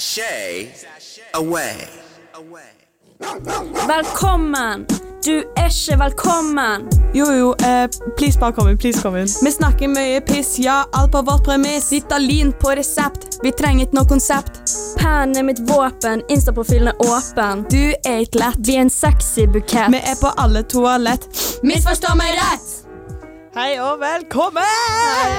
Sashay away. Velkommen! Du er ikke velkommen. Jo, jo, eh, please bare kom inn, please kom inn. Vi snakker mye piss, ja, alt på vårt premiss. Ritalin på resept. Vi trenger ikke noe konsept. Pennen er mitt våpen. Instaprofilen er åpen. Du er ikke lett. Vi er en sexy bukett. Vi er på alle toalett. Misforstå meg rett! Hei og velkommen!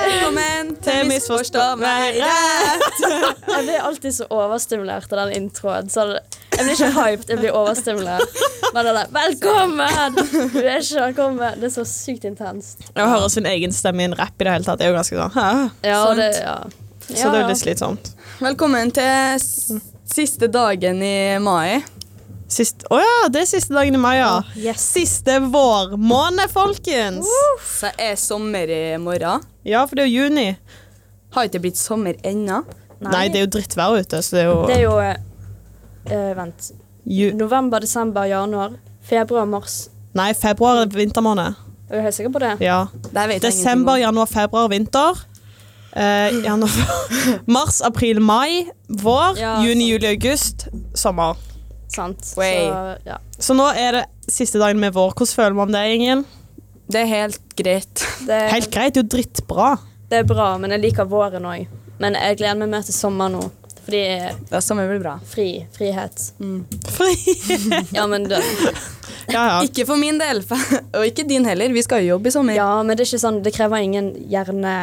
Velkommen til Misforstå meg rett. Jeg blir alltid så overstimulert av den introen. Så jeg blir ikke hyped, jeg blir overstimulert. Men det der 'velkommen', du er ikke velkommen. Det er så sykt intenst. Å høre sin egen stemme i en rap i det hele tatt, det er jo ganske sånn, hæ? Ja, og det, ja. Så det er Ja, jo ja. litt slitsomt. Velkommen til s- siste dagen i mai. Sist, åja, det er siste dagen i mai, ja. Yes. Siste vårmåned, folkens. Så det er sommer i morgen. Ja, for det er jo juni. Har ikke blitt sommer ennå. Nei, det er jo drittvær ute, så det er jo... Det er jo eh, Vent. ju- November, desember, januar. Februar, mars. Nei, februar er vintermåned. Er du helt sikker på det? Ja. Det vet jeg Desember, ingenting om. januar, februar, vinter. Eh, januar, mars, april, mai, vår. Ja, juni, sant. juli, august. Sommer. Sant. Way. Så, ja. Så nå er det siste dagen med vår. Hvordan føler man det, Ingrid? Det er helt greit. det, Helt greit, det er jo drittbra. det er bra, men jeg liker våren òg. Men jeg gleder meg mer til sommer nå. Fordi Ja, sommer blir bra. fri, frihet. Mhm. Fri. Ja, men det, Ja, ja. Ikke for min del, og ikke din heller. Vi skal jo jobbe i sommer. ja, men det er ikke sånn Det krever ingen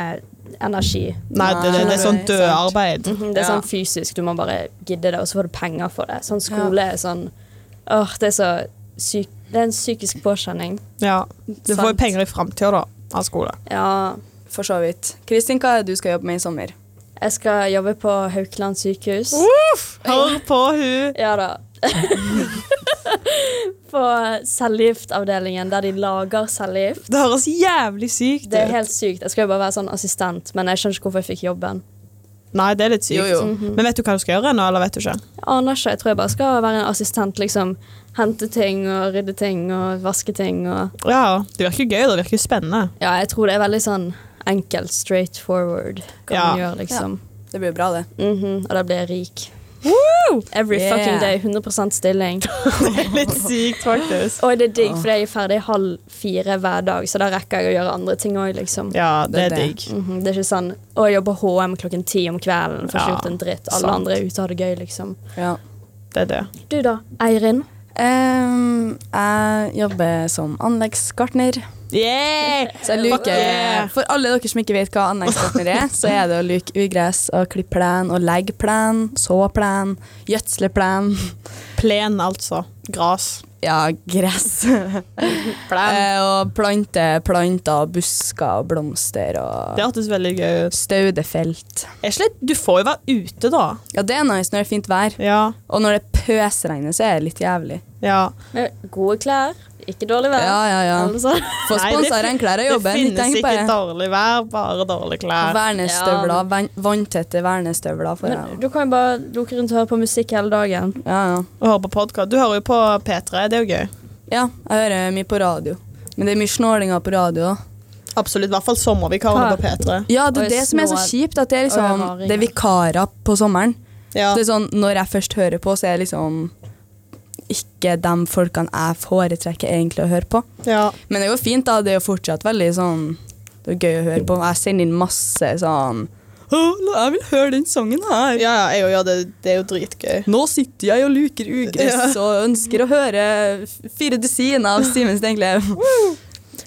hjerneenergi. Nei, det, det, det er sånn Nei, sant. dødarbeid. Mhm, Det er Ja. sånn fysisk. Du må bare gidde det, og så får du penger for det. Sånn skole er sånn Åh, det er så syk, Det er en psykisk påkjenning. Ja. Du får jo Sant. penger i framtida, da, av skole. Ja. For så vidt. Kristin, hva er det du skal jobbe med i sommer? Jeg skal jobbe på Haukeland sykehus. Uh! Hør på hun. Ja da. på cellegiftavdelingen, der de lager cellegift. Det høres jævlig sykt ut. Det er helt sykt. Jeg skal jo bare være sånn assistent, men jeg skjønner ikke hvorfor jeg fikk jobben. Nei, det er litt sykt. Jo, jo. Mhm. Men vet du hva du skal gjøre nå, eller vet du ikke? Jeg aner ikke. Jeg tror jeg bare skal være en assistent, liksom. Hente ting og rydde ting og vaske ting og Ja, Det virker gøy, det virker spennende. Ja, jeg tror det er veldig sånn enkelt, straight forward hva Ja. man gjør, liksom. Det blir bra, det. Mhm, Og da blir jeg rik. Every Yeah. fucking day. 100 stilling. Litt sykt, faktisk. Og det er digg, for jeg er ferdig halv fire hver dag, så da rekker jeg å gjøre andre ting òg, liksom. Ja, det, Det er er det. digg. Mhm, Det er ikke sånn å jeg jobber HM klokken ti om kvelden. Får ikke Ja, gjort en dritt. Alle sant. andre er ute og har det gøy, liksom. Ja. Det er det. Du da, Eirin? Ehm, jeg jobber som anleggsgartner. Yeah! Så jeg Fuck yeah! luker, For alle dere som ikke vet hva anleggsgartner er, så er det å luke ugress og klippe plen og legge plen, så plen, gjødsle plen. Plen, altså. Gras. Ja, gress. Eh, og plante planter og busker og blomster og Det hørtes veldig gøy ut. staudefelt. Er ikke det, du får jo være ute, da. Ja, det er nice når det er fint vær. Ja. Og når det pøsregner, så er det litt jævlig. ja. Med gode klær, ikke dårlig vær. Ja, ja, ja. Altså. Få Nei, det sponsa fin- regnklær av jobben. det litt finnes tenk ikke på det. dårlig vær, bare dårlige klær. Ja. Vernestøvler. van- Vanntette vernestøvler. får jeg. Men du kan jo bare luke rundt og høre på musikk hele dagen. Ja, ja. Og høre på podkast. Du hører jo på P3, det er jo gøy. ja, jeg hører mye på radio. Men det er mye snålinger på radio òg. Absolutt. I hvert fall sommervikarene på P3. Ja, det Og er det som er så snål. kjipt, at det er, Og liksom, raringer. det er vikarer på sommeren. Ja. Så det er sånn, Når jeg først hører på, så er det liksom ikke de folkene jeg foretrekker egentlig å høre på. ja. Men det er jo fint, da. Det er jo fortsatt veldig sånn Det er gøy å høre på. Jeg sender inn masse sånn «Å, Jeg vil høre den sangen her. Ja, ja, jeg òg gjør det. Det er jo dritgøy. Nå sitter jeg og luker ugress og ønsker å høre fire dusiner av Simen Stenglev.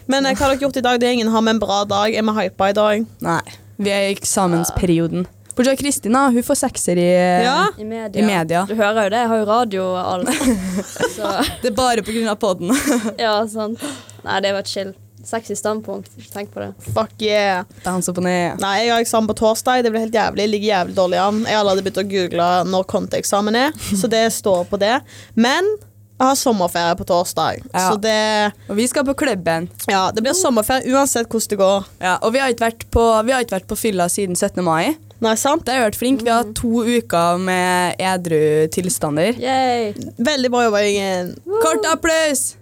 Men eh, hva har dere gjort i dag? Det er ingen har med en bra dag. Er vi hypa i dag? Nei. Vi er i eksamensperioden. Bortsett fra Kristin, da. Hun får sekser i eh, Ja. I media. I media. Du hører jo det, jeg har jo radio og alt. Så, Det er bare pga. poden. ja, sant. Nei, det var chill. Sexy standpunkt. Ikke tenk på det. Fuck yeah. Bounce opp og ned. Nei, jeg har eksamen på torsdag. Det blir helt jævlig. Jeg ligger jævlig dårlig an. Jeg har allerede begynt å google når konteeksamen er, så det står på det. Men jeg har sommerferie på torsdag, Ja. så det Og vi skal på klubben. Ja, det blir sommerferie uansett hvordan det går. Ja, og vi har ikke vært på, vi har ikke vært på fylla siden 17. mai. Nei, sant? Det har vært flink. Vi har hatt to uker med edru tilstander. Yay. Veldig bra jobba, Ingen. Kort applaus!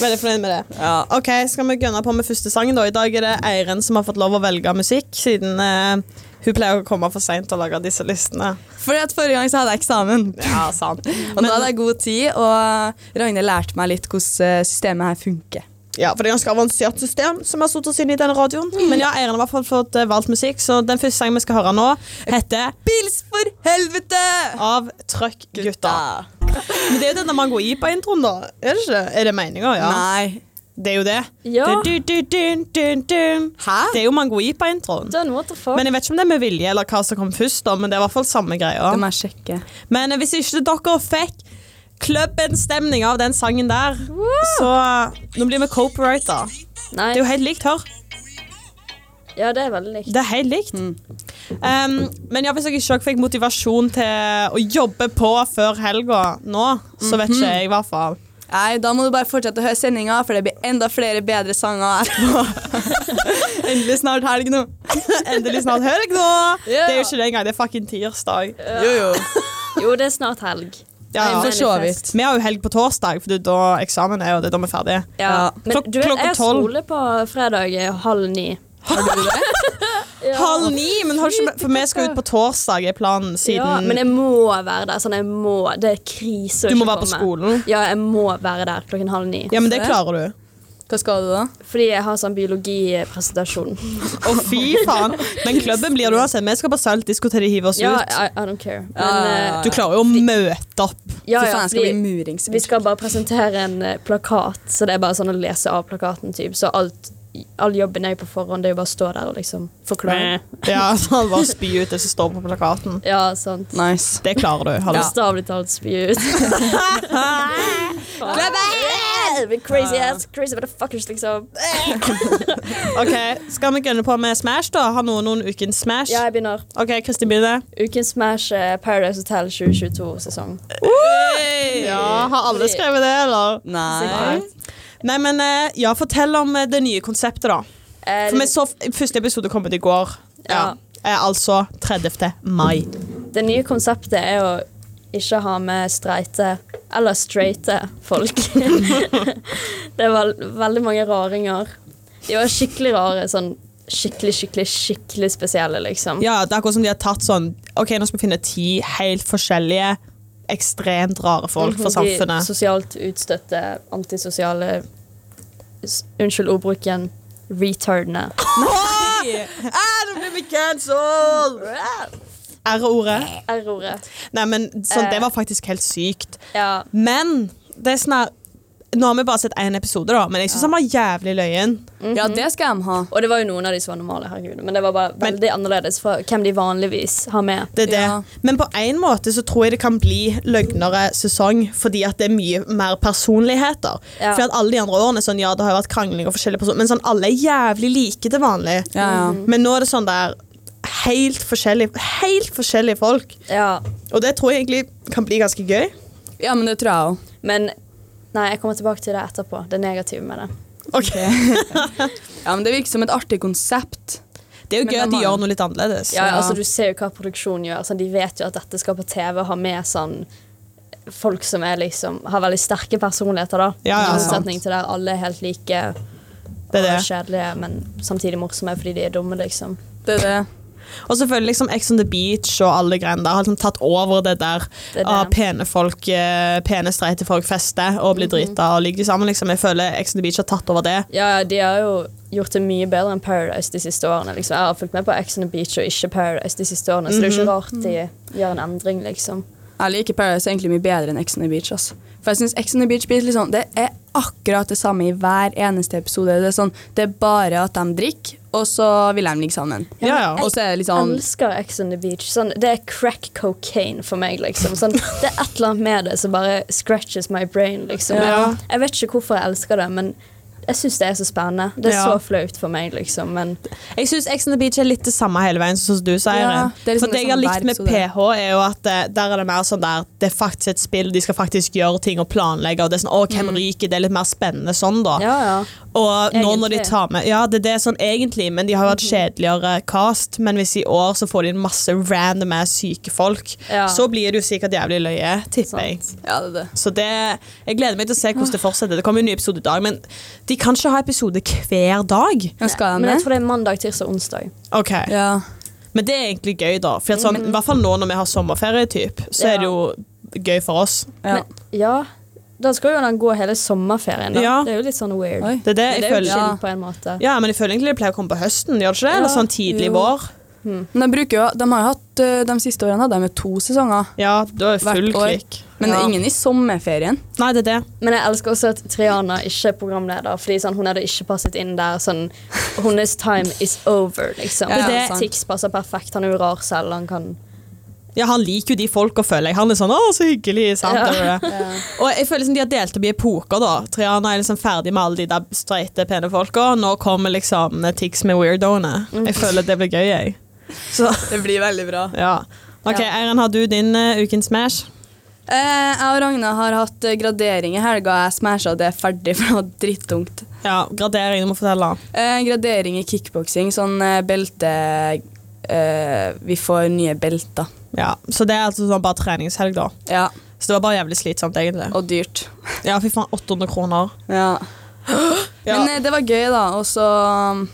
Veldig fornøyd med det. Ja. OK, skal vi gønne på med første sangen, da? I dag er det Eiren som har fått lov å velge musikk, siden eh, Hun pleier å komme for seint og lage disse listene. Fordi at Forrige gang så hadde jeg eksamen, Ja, sant. og da hadde jeg god tid. Og Ragnhild lærte meg litt hvordan eh, systemet her funker. Ja, for det er ganske avansert system som har stått oss inn i denne radioen. Men ja, Eiren har i hvert fall fått eh, valgt musikk, så den første sangen vi skal høre nå, heter Pils for helvete! Av Trøkk-gutta. Men det er jo denne mango-ipa-introen, da. Er det ikke? Er det meninga? Ja. Nei. Det er jo det. Ja. Du, du, du, dun, dun, dun. Hæ? Det er jo mango-ipa-introen. Done, what the fuck? Men jeg vet ikke om det er med vilje, eller hva som kom først, da, men det er i hvert fall samme greia. Det må jeg sjekke. Men eh, hvis ikke dere fikk klubbens stemning av den sangen der, så eh, Nå blir vi copywriter. Nei. Det er jo helt likt, hør. Ja, det er veldig likt. Det er helt likt. Mm. Um, men ja, hvis jeg ikke også fikk motivasjon til å jobbe på før helga nå, så vet Mhm. ikke jeg i hvert fall. Nei, Da må du bare fortsette å høre sendinga, for det blir enda flere bedre sanger etterpå. Endelig snart helg nå. Endelig snart helg nå! Ja. Det er jo ikke det engang, det er fucking tirsdag. Jo, jo. Jo, det er snart helg. Ja, Nei, ja. For men- så vidt. Vi har jo helg på torsdag, for det er da eksamen er, og det er da vi er ferdige. Ja. Men Klok- du vet, klokka jeg har tolv. skole på fredag eh, halv ni. Har du det? Ja. Halv ni! Men hold ikke, for vi skal ut på torsdag, er planen, siden Ja, men jeg må være der. Sånn, jeg må. Det er krise å du må ikke være på komme. skolen. Ja, jeg må være der klokken halv ni. Ja, men det klarer du. Hva skal du, da? Fordi jeg har sånn biologipresentasjon. Å, fy faen. Men klubben blir du uansett. Vi skal på saltdisko til de hiver oss Ja, ut. I, I don't care. Men, Ja, ja, eh, ja. Du klarer jo å møte opp. ja, Ah, Fy ja, faen, jeg skal fordi bli murings. vi skal bare presentere en eh, plakat, så det er bare sånn å lese av plakaten. Typ. Så alt, all jobben er jo på forhånd, det er jo bare å stå der og liksom forklare. Ja, sånn bare spy ut det som står på plakaten. Ja, sant. Nice. Det klarer du. Hallo. Bokstavelig talt spy ut. Klubben! Crazy Ah. ass, crazy motherfuckers, liksom. Ok, Skal vi gønne på med Smash, da? Har noen noen ukens Smash? Ja, jeg begynner. OK, Kristin begynner. Ukens Smash eh, Paradise Hotel 2022-sesong. Ja, har alle skrevet det, eller? Nei. Nei, men eh, ja, fortell om eh, det nye konseptet, da. Eh, For vi så f- første episode kom ut i går. Ja. Eh, altså 30. mai. Det nye konseptet er å ikke ha med streite eller straighte folk. det var veldig mange raringer. De var skikkelig rare. Sånn skikkelig, skikkelig, skikkelig spesielle, liksom. Ja, det er akkurat som de har tatt sånn OK, nå skal vi finne ti helt forskjellige, ekstremt rare folk fra De samfunnet. sosialt utstøtte, antisosiale s- Unnskyld ordbruken. Retardene. Nå blir vi cancelled! R-ordet. R-ordet. Nei, men sånn, Eh. det var faktisk helt sykt. Ja. Men det er sånn her Nå har vi bare sett én episode, da, men jeg syns han var jævlig løyen. Ja, det skal de ha. Og det var jo noen av de som var normale, herregud. Men det var bare Men- veldig annerledes fra hvem de vanligvis har med. Det er det. Ja. Men på en måte så tror jeg det kan bli løgnere sesong, fordi at det er mye mer personligheter. Ja. For at alle de andre årene sånn, ja, det har jo vært krangling og forskjellige personer, men sånn, alle er jævlig like til vanlig. Ja, ja. Men nå er det sånn der helt forskjellige, helt forskjellige folk. Ja. Og det tror jeg egentlig kan bli ganske gøy. ja, men det tror jeg òg. Men Nei, jeg kommer tilbake til det etterpå. Det negative med det. Ja, men det virker som et artig konsept. Det er jo Men gøy da at de må- gjør noe litt annerledes. Ja, Ja. altså Du ser jo hva produksjonen gjør. Sånn, de vet jo at dette skal på TV og ha med sånn folk som er liksom har veldig sterke personligheter, da. Ja, I ja, motsetning til der alle er helt like Det og er det. kjedelige, men samtidig morsomme fordi de er dumme, liksom. Det er det. Og selvfølgelig liksom Ex on the Beach og alle greiene der har liksom tatt over det der Det er det. av pene folk, eh, pene streite folk fester og Mhm. blir drita og ligger sammen. liksom. Jeg føler Ex on the Beach har tatt over det. Ja, ja, de har jo gjort det mye bedre enn Paradise de siste årene. liksom. Jeg har fulgt med på Ex on the Beach og ikke Paradise de siste årene, så det er Mhm. jo ikke rart Mm. de gjør en endring, liksom. Jeg liker Paradise egentlig mye bedre enn Ex on the Beach. ass. For jeg synes Ex on the Beach blir litt sånn, Det er akkurat det samme i hver eneste episode. Det er, sånn, det er bare at de drikker, og så vil de ligge sammen. Ja, ja. Og så er det litt sånn elsker Ex on the Beach. Sånn, det er crack cocaine for meg, liksom. Sånn, det er et eller annet med det som bare scratches my brain, liksom. Ja. Jeg vet ikke hvorfor jeg elsker det, men jeg syns det er så spennende. Det er Ja. så flaut for meg, liksom, men Jeg syns Ex on the Beach er litt det samme hele veien. sånn som du sier Ja, Eirin. det er liksom For det det jeg har samme likt hver med episode. PH, er jo at eh, der er det mer sånn der det er faktisk et spill, de skal faktisk gjøre ting og planlegge. og det er sånn, å, hvem ryker, det er litt mer spennende sånn da. ja, ja. Og nå når de Egentlig. tar med Ja, det er det sånn egentlig, men de har jo hatt kjedeligere cast. Men hvis i år så får de inn masse random ass syke folk, Ja. så blir det jo sikkert jævlig løye, tipper jeg. Ja, det er det. Så det, jeg gleder meg til å se hvordan det fortsetter. Det kommer jo en ny episode i dag, men de kan ikke ha episode hver dag. Ja, skal de Men jeg det? tror det er mandag, tirsdag, onsdag. Ok, Ja. Men det er egentlig gøy, da. For at sånn, I hvert fall nå når vi har sommerferie, typ, så er det jo gøy for oss. Ja. Ja, da skal jo den gå hele sommerferien. da. Ja. Det er jo litt sånn weird. Oi. Det er det Men det er jeg jo føler. chill på en måte. Ja, men jeg føler egentlig det pleier å komme på høsten, gjør det ikke det? Eller Ja, sånn tidlig jo. vår. Men de, bruker jo, de har jo hatt eh, De siste årene hadde de jo to sesonger. Ja, da er det full Hvert år. klikk. Men Ja. ingen i sommerferien. Nei, det er det. Men jeg elsker også at Triana ikke er programleder, fordi sånn, hun hadde ikke passet inn der. Sånn, hennes time is over, liksom. Ja, det, ja, sant. Tix passer perfekt. Han er jo rar selv. Han kan Ja, Han liker jo de folka, føler jeg. Han er sånn 'Å, så hyggelig'. sant? Ja. Det er det. Og jeg føler liksom De har delt opp i epoker. da. Triana er liksom ferdig med alle de der streite, pene folka. Nå kommer liksom Tix med weirdoene. Jeg føler det blir gøy, jeg. Så, Det blir veldig bra. ja. OK, Ja. Eiren, har du din eh, ukens smash? Eh, jeg og Ragna har hatt eh, gradering i helga. Jeg smasha det ferdig, for det var drittungt. Ja, gradering. Du må fortelle. Eh, gradering i kickboksing, sånn eh, belte eh, Vi får nye belter. Ja, Så det er altså sånn bare treningshelg, da. Ja, Så det var bare jævlig slitsomt, egentlig. og dyrt. Ja, fy faen, 800 kroner. Ja. Ja, Men eh, det var gøy, da. Og så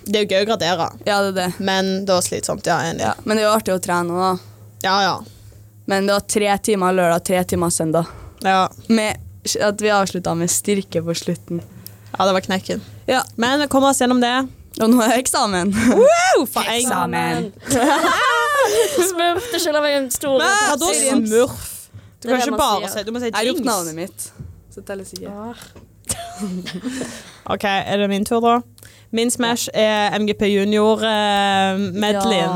det er jo gøy å gradere, Ja, det er det. men det var slitsomt. Ja, enig. Ja. Men det er jo artig å trene òg, da. Ja, ja. Men det var tre timer lørdag, tre timer søndag. Ja, Med at vi avslutta med styrke på slutten. ja det var knekken. Ja, Men vi kommer oss gjennom det. Og nå er eksamen. Wow, for en gang. Eksamen. Smurf, det skylder meg en stor Men, rotasjon. Hadde også smurf. Du Det er kan det ikke man bare sier. si Du må si Jeg ropte dings. navnet mitt. Så teller sikkert. Ah, OK, er det min tur, da? Min smash er MGP junior-medleyen.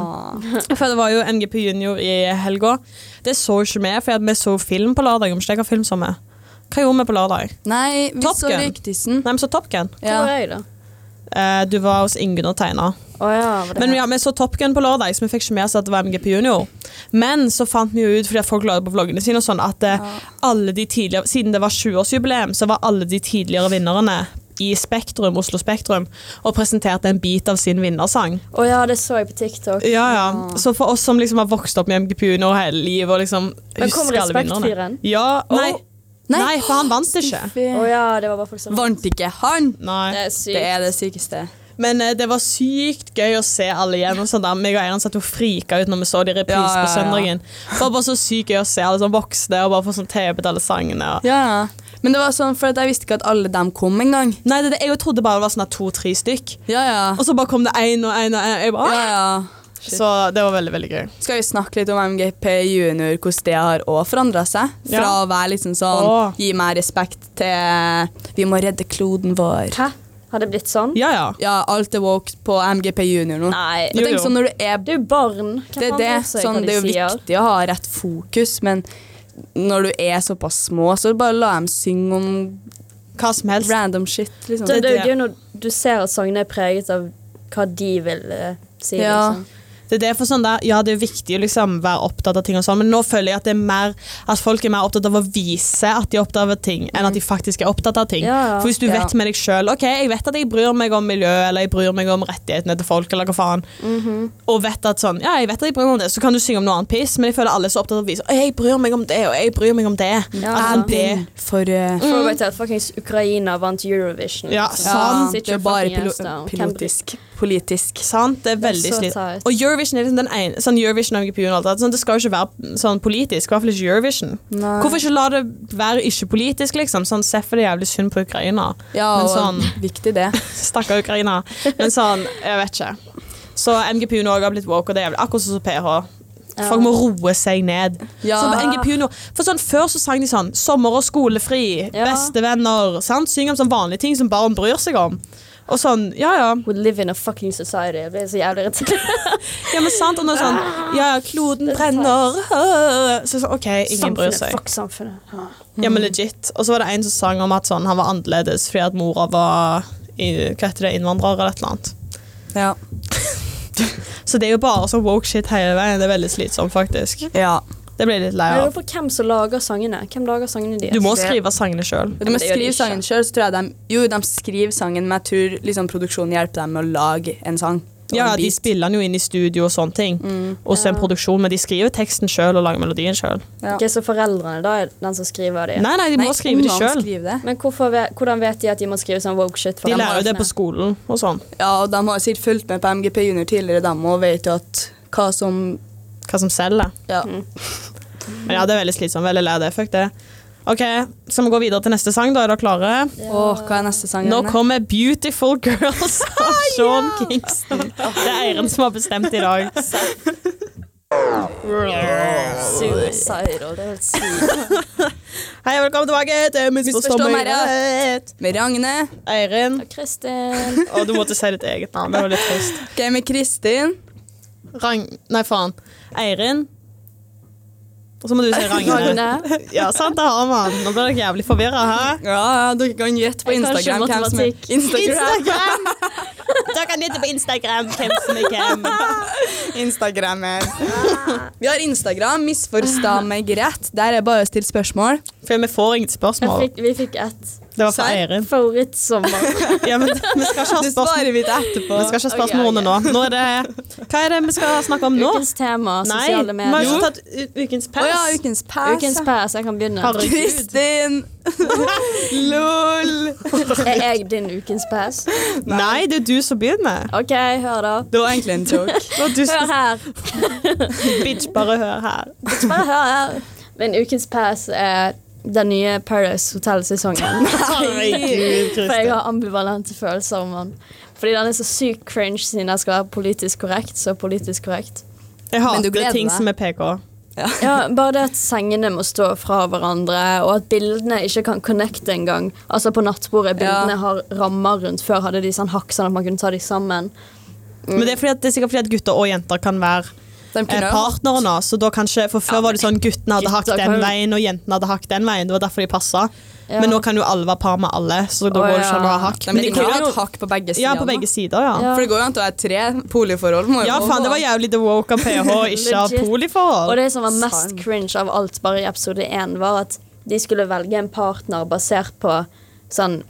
eh, For det var jo MGP Junior i helga. Det så ikke vi, for vi så film på lørdag. Om ikke jeg har filmsomme. Hva gjorde vi på lørdag? Nei, vi Top så Gun. Røyktisen. Nei, vi så Top Gun. Hvor Ja. er jeg, da? Eh, du var hos Ingunn og tegna. Å ja, var det Men ja, vi så Top Gun på lørdag, så vi fikk ikke med oss at det var MGP Junior. Men så fant vi jo ut, fordi at folk la det på vloggene sine, og sånn, at eh, alle de tidligere, siden det var 20-årsjubileum, så var alle de tidligere vinnerne i Spektrum, Oslo Spektrum og presenterte en bit av sin vinnersang. Å ja, det så jeg på TikTok. Ja, ja. Så for oss som liksom har vokst opp med MGP Junior hele livet og liksom Men kom husker alle Respekt vinnerne. fyren? Ja, Å, nei. nei. nei. for han vant ikke. Å ja, det var bare folk som Vant ikke han! Nei. Det er sykt. Det er det sykeste. Men eh, det var sykt gøy å se alle igjen. og sånn der. Meg og Eiren satt og frika ut når vi så de i reprise Ja, ja, ja. på søndagen. Det var bare så sykt gøy å se alle sånn voksne og bare få sånn tøyet alle sangene. og- Ja, Men det var sånn, for at jeg visste ikke at alle dem kom engang. Nei, det, det, Jeg trodde bare det var sånn der to-tre stykk. Ja, ja. Og så bare kom det én og én. Og en, jeg bare, ja, ja. «Åh!» så det var veldig veldig gøy. Skal vi snakke litt om MGP junior, hvordan det har òg forandra seg? Fra Ja. å være liksom sånn Åh. gi meg respekt til vi må redde kloden vår. Hæ? Har det blitt sånn? Ja, ja. Ja, alt er woke på MGP junior nå. Nei. Jeg Jo, tenker jo. sånn når du er Det er jo barn. Hvem det, er faen bryr det, seg hva sånn, de det er jo sier? viktig å ha rett fokus, men når du er såpass små, så bare la dem synge om Hva som helst. random shit. Liksom. Så Det- det, er jo gøy når du ser at sangene er preget av hva de vil eh, si. Ja. Liksom. Det er derfor sånn der, ja, det er viktig å liksom være opptatt av ting, og sånn, men nå føler jeg at, det er mer, at folk er mer opptatt av å vise at de er opptatt av ting, enn at de faktisk er opptatt av ting. Mm. Ja, ja. For hvis du Ja. vet med deg sjøl ok, jeg vet at jeg bryr meg om miljø, eller jeg bryr meg om rettighetene til folk, eller hva faen, Mhm. og vet at sånn, ja, jeg vet at jeg bryr meg om det, så kan du synge om noe annet piss, men jeg føler alle er så opptatt av å vise «Å, jeg bryr meg om det, og jeg bryr meg om det. Ja, At det Det for eh, Throwback til at fuckings Ukraina vant Eurovision. Mm. Ja, liksom. ja, sant. Sit Det your er bare fucking pilo ass down. Hvem bryr- pilotisk. Politisk. Sant, det er Det er veldig så slitt. teit. Og Eurovision er liksom den ene sånn Eurovision og MGP og alt det der, sånn, Det skal jo ikke være sånn politisk, i hvert fall ikke Eurovision. Nei. Hvorfor ikke la det være ikke-politisk, liksom? Sånn, Seff er det jævlig synd på Ukraina. Ja, Men og sånn- viktig det. Stakkar Ukraina. Men sånn, jeg vet ikke. Så MGP nå har blitt woke, og det er jævlig akkurat sånn som PH. Folk må roe seg ned. Ja. Sånn, MGP nå, for sånn, Før så sang de sånn 'sommer og skolefri', Ja. 'bestevenner'. sant? Syng om sånn vanlige ting som barn bryr seg om. Og sånn, ja ja. We live in a fucking society. Jeg blir så jævlig irritert. Ja, men sant, og nå er det sånn Ja, ja, kloden brenner Så sånn, ok, ingen bryr Samfunnet, seg Fuck samfunnet. Ah. Ja, men legit Og så var det en som sang om at sånn, han var annerledes Fordi at mora var, i- hva heter det, innvandrer eller et eller annet Ja. Så det er jo bare sånn woke shit hele veien Det er veldig slitsomt faktisk ja. Det blir jeg litt lei Jeg lurer av på hvem som lager sangene. Hvem lager sangene de? Du må skrive sangene selv Og De må det gjør de skrive ikke. sangen sjøl, så tror jeg de Jo, de skriver sangen, men jeg tror liksom produksjonen hjelper dem med å lage en sang. Ja, og en ja, de beat. spiller den jo inn i studio og sånne ting Og så en produksjon, men de skriver teksten selv Og lager melodien selv ja. Ok, så foreldrene da er den som skriver de. Nei, nei, de må Nei, skrive det ungene selv skriver det. Men hvorfor, ve- hvordan vet de at de må skrive sånn woke shit? for De dem? lærer jo det på skolen og sånn Ja, og de har sikkert fulgt med på MGP Junior tidligere, dem og vet jo at hva som Hva som selger. Ja. Men ja, det er veldig slitsomt. Veldig lei det. Fuck det. OK, skal vi gå videre til neste sang, da? Er dere klare? Åh, hva er neste sang? Nå Janne? kommer 'Beautiful Girls' av Sean Kingston. Det er Eiren som har bestemt i dag. Suicidal, det er helt sykt. Hei, og velkommen tilbake til Misforstå Misforstå meg meg rett. Med Ragne. Eiren. Og Kristin. Å, du måtte si ditt eget navn. Det var litt trist. Ok, med Kristin. Rang... Nei, faen. Eirin. Og så må du si Ragne. Ragne. Ja, sant, det har man. Nå blir dere jævlig forvirra, hæ? Ja, ja, dere kan gjette på Jeg kan Instagram. ikke hvem som er- matematikk. Instagram. Instagram! Dere kan nyte på Instagram hvem som er hvem. Instagrammer. Vi har Instagram. Misforstå meg rett. Der er bare å stille spørsmål. For vi får ingen Jeg spørsmål. fikk, vi fikk ett. Det var fra Serr? Eirin. Favorittsommer. Ja, men vi skal ikke ha Det spørsmål. sparer vi til etterpå. Vi skal ikke ha spørsmålene Ok, nå. nå er det, hva er det vi skal snakke om nå? Ukens tema, Nei, sosiale vi har ikke medier. tatt u- ukens Å ja, pels. ukens pass. Ukens pæs, jeg kan begynne. Altså. Herregud. Kristin! Lol! Er jeg din ukens pæs? Nei, det er du som begynner. OK, hør da. Det var egentlig en joke. Det var du Hør som her. bitch, bare hør her. Ikke Bare hør her. Min ukens pass er den nye Paradise Hotel-sesongen. Herregud, For jeg Kristin. har ambivalente følelser om den. Fordi den er så sykt cringe siden den skal være politisk korrekt. Så politisk korrekt. Jeg Men du hater gleder ting deg. som er PK. Ja, Bare det at sengene må stå fra hverandre, og at bildene ikke kan connecte engang. Altså på nattbordet, bildene Ja. har rammer rundt. Før hadde de sånn hakk sånn at man kunne ta de sammen. Men det er, fordi at, det er sikkert fordi at gutter og jenter kan være De eh, kunne jo partnerne. Så da kanskje, for før var det sånn guttene hadde hakk gutter den kan jo- veien, og jentene hadde hakk den veien. Det var derfor de passa. Ja. Men nå kan jo alle være par med alle, så da Å, går det ikke an å ha ja. hakk. De Men de kunne kan jo jo hatt hakk på begge sider. Ja, på begge sider, ja. Ja. For det går jo an til å være tre boligforhold. Må jo Ja, gå. faen, det var jævlig The Woke av PH, ikke av Legit. Og poliforhold. det som var mest Sant. cringe av alt bare i episode 1, var at de skulle velge en partner basert på sånn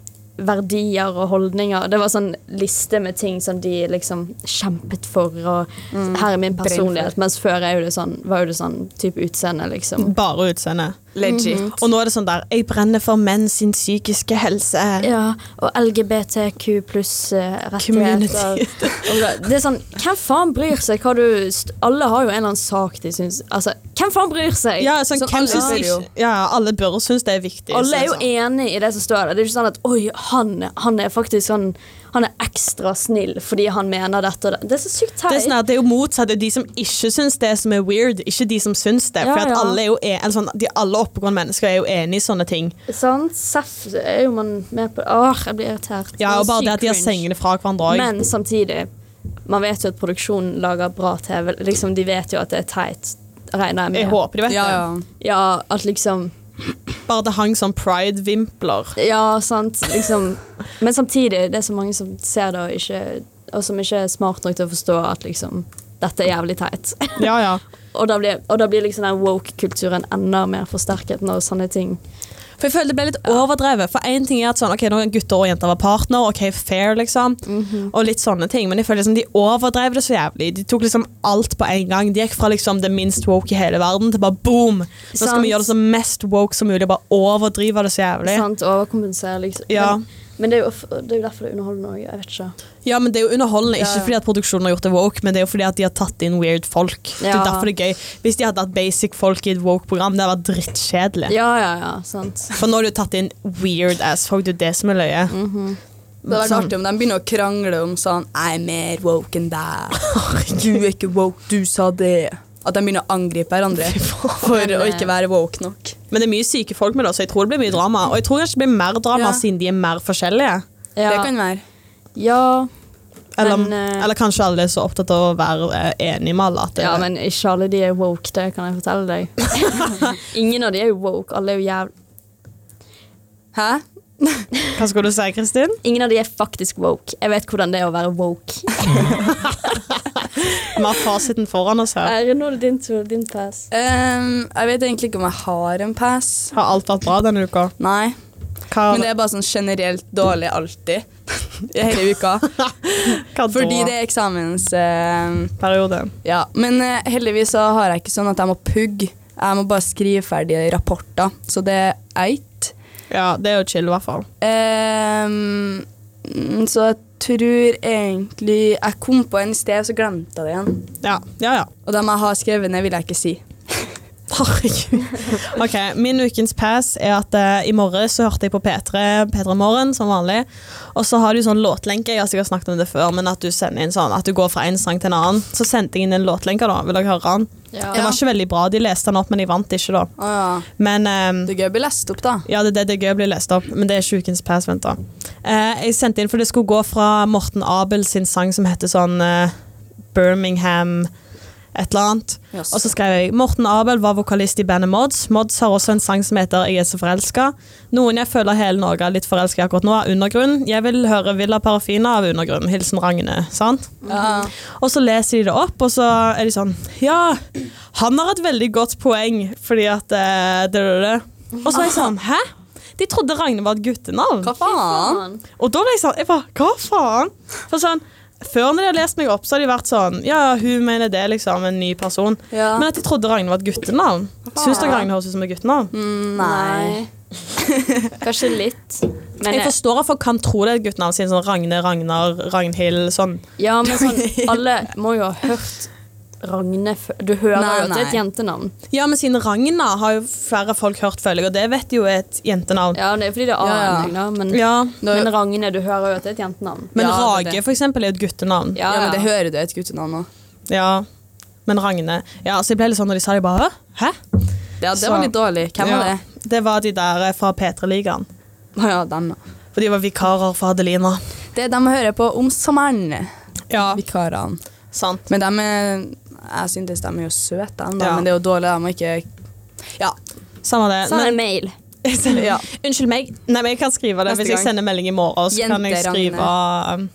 verdier og holdninger. Det var sånn liste med ting som de liksom kjempet for, og her er min for. personlighet. Mens før er jo det sånn, var jo det sånn type utseende, liksom. Bare utseende. Mm. Legit. Og nå er det sånn der Jeg brenner for menn sin psykiske helse. Ja, og LGBTQ pluss-rettigheter. Community. eh, Det er sånn, Hvem faen bryr seg hva du st- Alle har jo en eller annen sak de syns Altså, hvem faen bryr seg? Ja, sånn, Sånn, hvem alle synes bør jo. ikke, ja, alle bør synes det er viktig. sånn. Alle er jo synes jeg. enige i det som står der. Det er ikke sånn at oi, han, han er faktisk sånn Han er ekstra snill fordi han mener dette og det. Det er så sykt det er, teit. sånn at det er jo motsatt. Det er jo de som ikke syns det som er weird, ikke de som syns det. Ja, For at ja. alle, er jo en, eller sånn, de, alle oppegående mennesker er jo enig i sånne ting. Sant? Sånn, Seff er jo man med på Åh, jeg blir irritert. Ja, og bare sykt det at de har cringe. sengene fra hverandre òg. Men samtidig, man vet jo at produksjonen lager bra TV. Liksom, de vet jo at det er teit, regner Jeg jeg med. håper de vet Ja, ja. Ja, at liksom det. Bare det hang sånn pride-vimpler. Ja, sant. Liksom. Men samtidig, det er så mange som ser det og, ikke, og som ikke er smart nok til å forstå at liksom dette er jævlig teit. Ja, ja. Og da blir, og da blir liksom den woke-kulturen enda mer forsterket når sånne ting For jeg føler det ble litt overdrevet. For en ting er at sånn, ok, nå kan gutter og jenter være partner, ok, fair, liksom. Mhm. Og litt sånne ting. Men jeg føler liksom de overdrev det så jævlig. De tok liksom alt på en gang. De gikk fra liksom det minst woke i hele verden til bare boom! Nå skal Sant. vi gjøre det så mest woke som mulig og bare overdrive det så jævlig. sant, overkompenserer. Liksom. Ja. Men, men det, er jo, f- det er jo derfor det er underholdende òg. Jeg vet ikke. Ja, men det er jo underholdende. Ikke Ja, ja. fordi at produksjonen har gjort det woke, men det er jo fordi at de har tatt inn weird folk. Det er Ja. derfor det er gøy. Hvis de hadde hatt basic folk i et woke-program, det hadde vært drittkjedelig. Ja, ja, ja. Sant. For nå har du tatt inn weird ass folk. Det er jo det som er løye. Det hadde vært artig om de begynner å krangle om sånn Jeg er mer woke enn deg. Du er ikke woke, du sa det. At de begynner å angripe hverandre for å ikke være woke nok. Men det er mye syke folk med det, så jeg tror det blir mye drama. Og jeg tror kanskje det blir mer drama Ja. siden de er mer forskjellige. Ja. Det kan være. ja. Eller, Men, eh, eller kanskje alle er så opptatt av å være eh, enige med alle. At det, ja, men ikke alle de er woke, det kan jeg fortelle deg. Ingen av de er jo woke. Alle er jo jævlig Hæ? Hva skal du si, Kristin? Ingen av de er faktisk woke. Jeg vet hvordan det er å være woke. Vi har fasiten foran oss her. Ære, nå er det din tur. Din pass. Ehm, jeg vet egentlig ikke om jeg har en pass. Har alt vært bra denne uka? Nei. Hva, Men det er bare sånn generelt dårlig alltid i hele uka. hva Fordi da? det er eksamens... ehm, Periode. Ja, men eh, heldigvis så har jeg ikke sånn at jeg må pugge. Jeg må bare skrive ferdig rapporter, så det er eit. Ja, det er jo chill, i hvert fall. Ehm, mm, så jeg tror egentlig Jeg kom på en i sted, så glemte jeg det igjen. Ja, ja. ja. Og dem jeg har skrevet ned, vil jeg ikke si. Herregud. Ok, Min ukens pass er at eh, i morges så hørte jeg på P3 P3 Morgen som vanlig. Og så har du sånn låtlenke. Jeg har sikkert snakket om det før, men at du sender inn sånn At du går fra en sang til en annen. Så sendte jeg inn en låtlenke, da. Vil dere høre den? Ja. Den var ikke veldig bra. De leste den opp, men de vant ikke, da. Å ja. Men ehm, Det er gøy å bli lest opp, da. ja, det, det, det er gøy å bli lest opp, men det er ikke ukens pass. Vent, da. Eh, jeg sendte inn, for det skulle gå fra Morten Abel sin sang som heter sånn eh, Birmingham et eller annet. Yes. Og så skrev jeg Morten Abel var vokalist i bandet Mods. Mods har også en sang som heter Jeg er så forelska. Noen jeg føler hele Norge er litt forelska i akkurat nå, er Undergrunn. Jeg vil høre Villa Parafina av Undergrunn. Hilsen Ragne. sant? Ja. Og så leser de det opp, og så er de sånn Ja, han har et veldig godt poeng, fordi at eh, det, det, det. Og så er jeg sånn Hæ? De trodde Ragne var et guttenavn. Hva faen? Faen. Og da ble jeg sånn jeg bare, Hva faen? For sånn, før når de har lest meg opp, så har de vært sånn Ja, hun mener det, liksom. En ny person. Ja. Men at de trodde Ragne var et guttenavn. Syns dere Ragne høres ut som et guttenavn? Mm, Nei. Kanskje litt. Men Jeg jeg, forstår at folk kan tro det er et guttenavn, siden sånn Ragne, Ragnar, Ragnhild sånn. ja, men sånn, alle må jo ha hørt Ragne før. Du hører Nei, jo at det er et nei. jentenavn. Ja, men siden Ragna har jo flere folk hørt, føler jeg, og det vet jo er et jentenavn. Ja, det er fordi det er Ja, ja. A-ending, da. Men, Ja, men Ragne, du hører jo at det er et jentenavn. Men Ja, det er Rage det. for eksempel er et guttenavn. Ja. Ja, Ja, men det ja. hører du er et guttenavn òg. Men Ragne Ja, så jeg ble litt sånn når de sa det, jeg bare Hæ? Ja, det var Så- litt dårlig. Hvem var Ja. det? Det var de der eh, fra P3-ligaen. Å ja, dem, ja. For de var vikarer for Adelina. Det er dem jeg hører på om sommeren. Ja, Vikarene. sant. Men dem er Jeg synes dem er jo søte, dem, da. Ja. Men det er jo dårlig, dem må ikke Ja. Samme det. Sånn er det mail. Men, Ja. unnskyld meg. Nei, men jeg kan skrive det. Neste Hvis jeg gang. sender melding i morgen, så kan jeg Jente skrive um,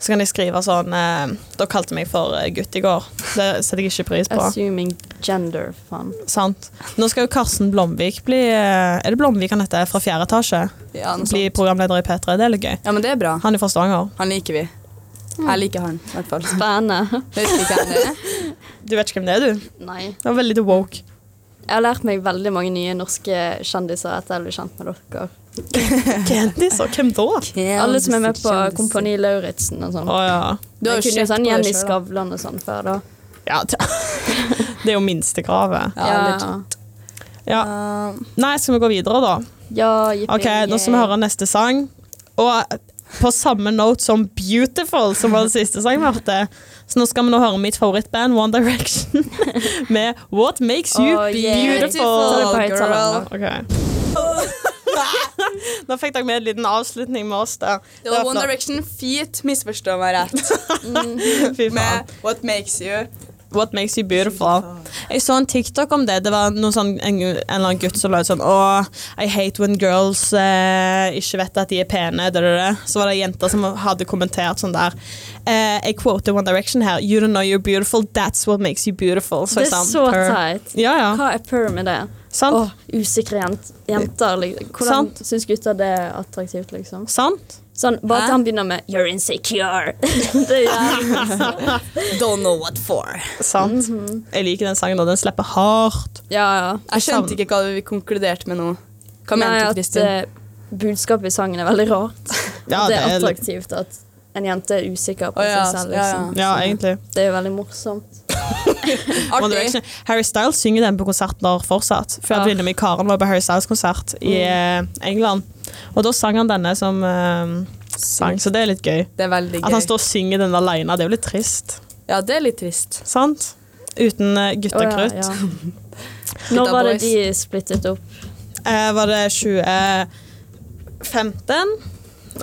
så kan jeg skrive sånn eh, Dere kalte meg for eh, gutt i går. Det setter jeg ikke pris på. Assuming gender, faen. Sant. Nå skal jo Karsten Blomvik bli eh, Er det Blomvik han heter? Fra fjerde etasje? Ja, noe Bli sånt. programleder i P3. Det er litt gøy. ja, men det er bra. Han er fra Stavanger. Han liker vi. Jeg liker han, i hvert fall. Spennende. Vet ikke hvem det er. Du vet ikke hvem det er, du? Nei. Det var veldig woke. Jeg har lært meg veldig mange nye norske kjendiser etter jeg ble kjent med dere. Kjendiser? Hvem da? Alle som er med på Kompani Lauritzen og sånn. Å ja. Du har jo Jeg kunne jo sett sånn på det Jenny selv, da. Skavlan og sånn før, da. ja t- det er jo minstekravet. Ja, sånn. legit. Ja. Um, Nei, skal vi gå videre, da? ja yippee, Ok, Nå skal vi yay. høre neste sang. Og på samme note som 'Beautiful', som var den siste sangen vi hørte. Så nå skal vi nå høre mitt favorittband One Direction med 'What Makes You Å, yeah. Ta det Beautiful'. på høyttaleren, da. Ok. Nå fikk dere med en liten avslutning med oss der. Det var var One flott. Direction Feet, misforstå meg rett, Fy faen. med What Makes You. What makes you beautiful? Jeg så en TikTok om det. Det var noen sånn, en, en eller annen gutt som la ut sånn Åh, I hate when girls eh, ikke vet at de er pene. Det, det, det. Så var det ei jente som hadde kommentert sånn der. eh, jeg quoter One Direction her. You don't know you're beautiful, that's what makes you beautiful. Det jeg er sa, så "Per." teit. Ja, ja. Hva er per med det? Sant. Åh, usikre jent jenter. Liksom. Hvordan Sant. syns gutter det er attraktivt, liksom? Sant? Sånn, bare Hæ? at han begynner med 'you're insecure'. det er jævlig. Don't know what for. Sant. Mhm. Jeg liker den sangen, og den slipper hardt. Ja, ja. Jeg skjønte ikke hva vi konkluderte med nå. Hva mente Nei, du, at Kristin? eh, budskapet i sangen er veldig rart. Ja, At det er det er- attraktivt at en jente er usikker på Å, ja, seg selv. ja, ja. Liksom. Ja, egentlig. Det er jo veldig morsomt. One Artig. Direction. Harry Styles synger den på konserter fortsatt. For Ja. Mm. at venninna mi Karen var på Harry Styles-konsert i eh, England. Og da sang han denne som eh, sang, så det er litt gøy. Det er veldig At han gøy. står og synger den alene, det er jo litt trist. Ja, det er litt trist. Sant? Uten uh, Å, ja, guttekrutt. ja. Når Gutta var det boys. de splittet opp? Eh, var det 2015?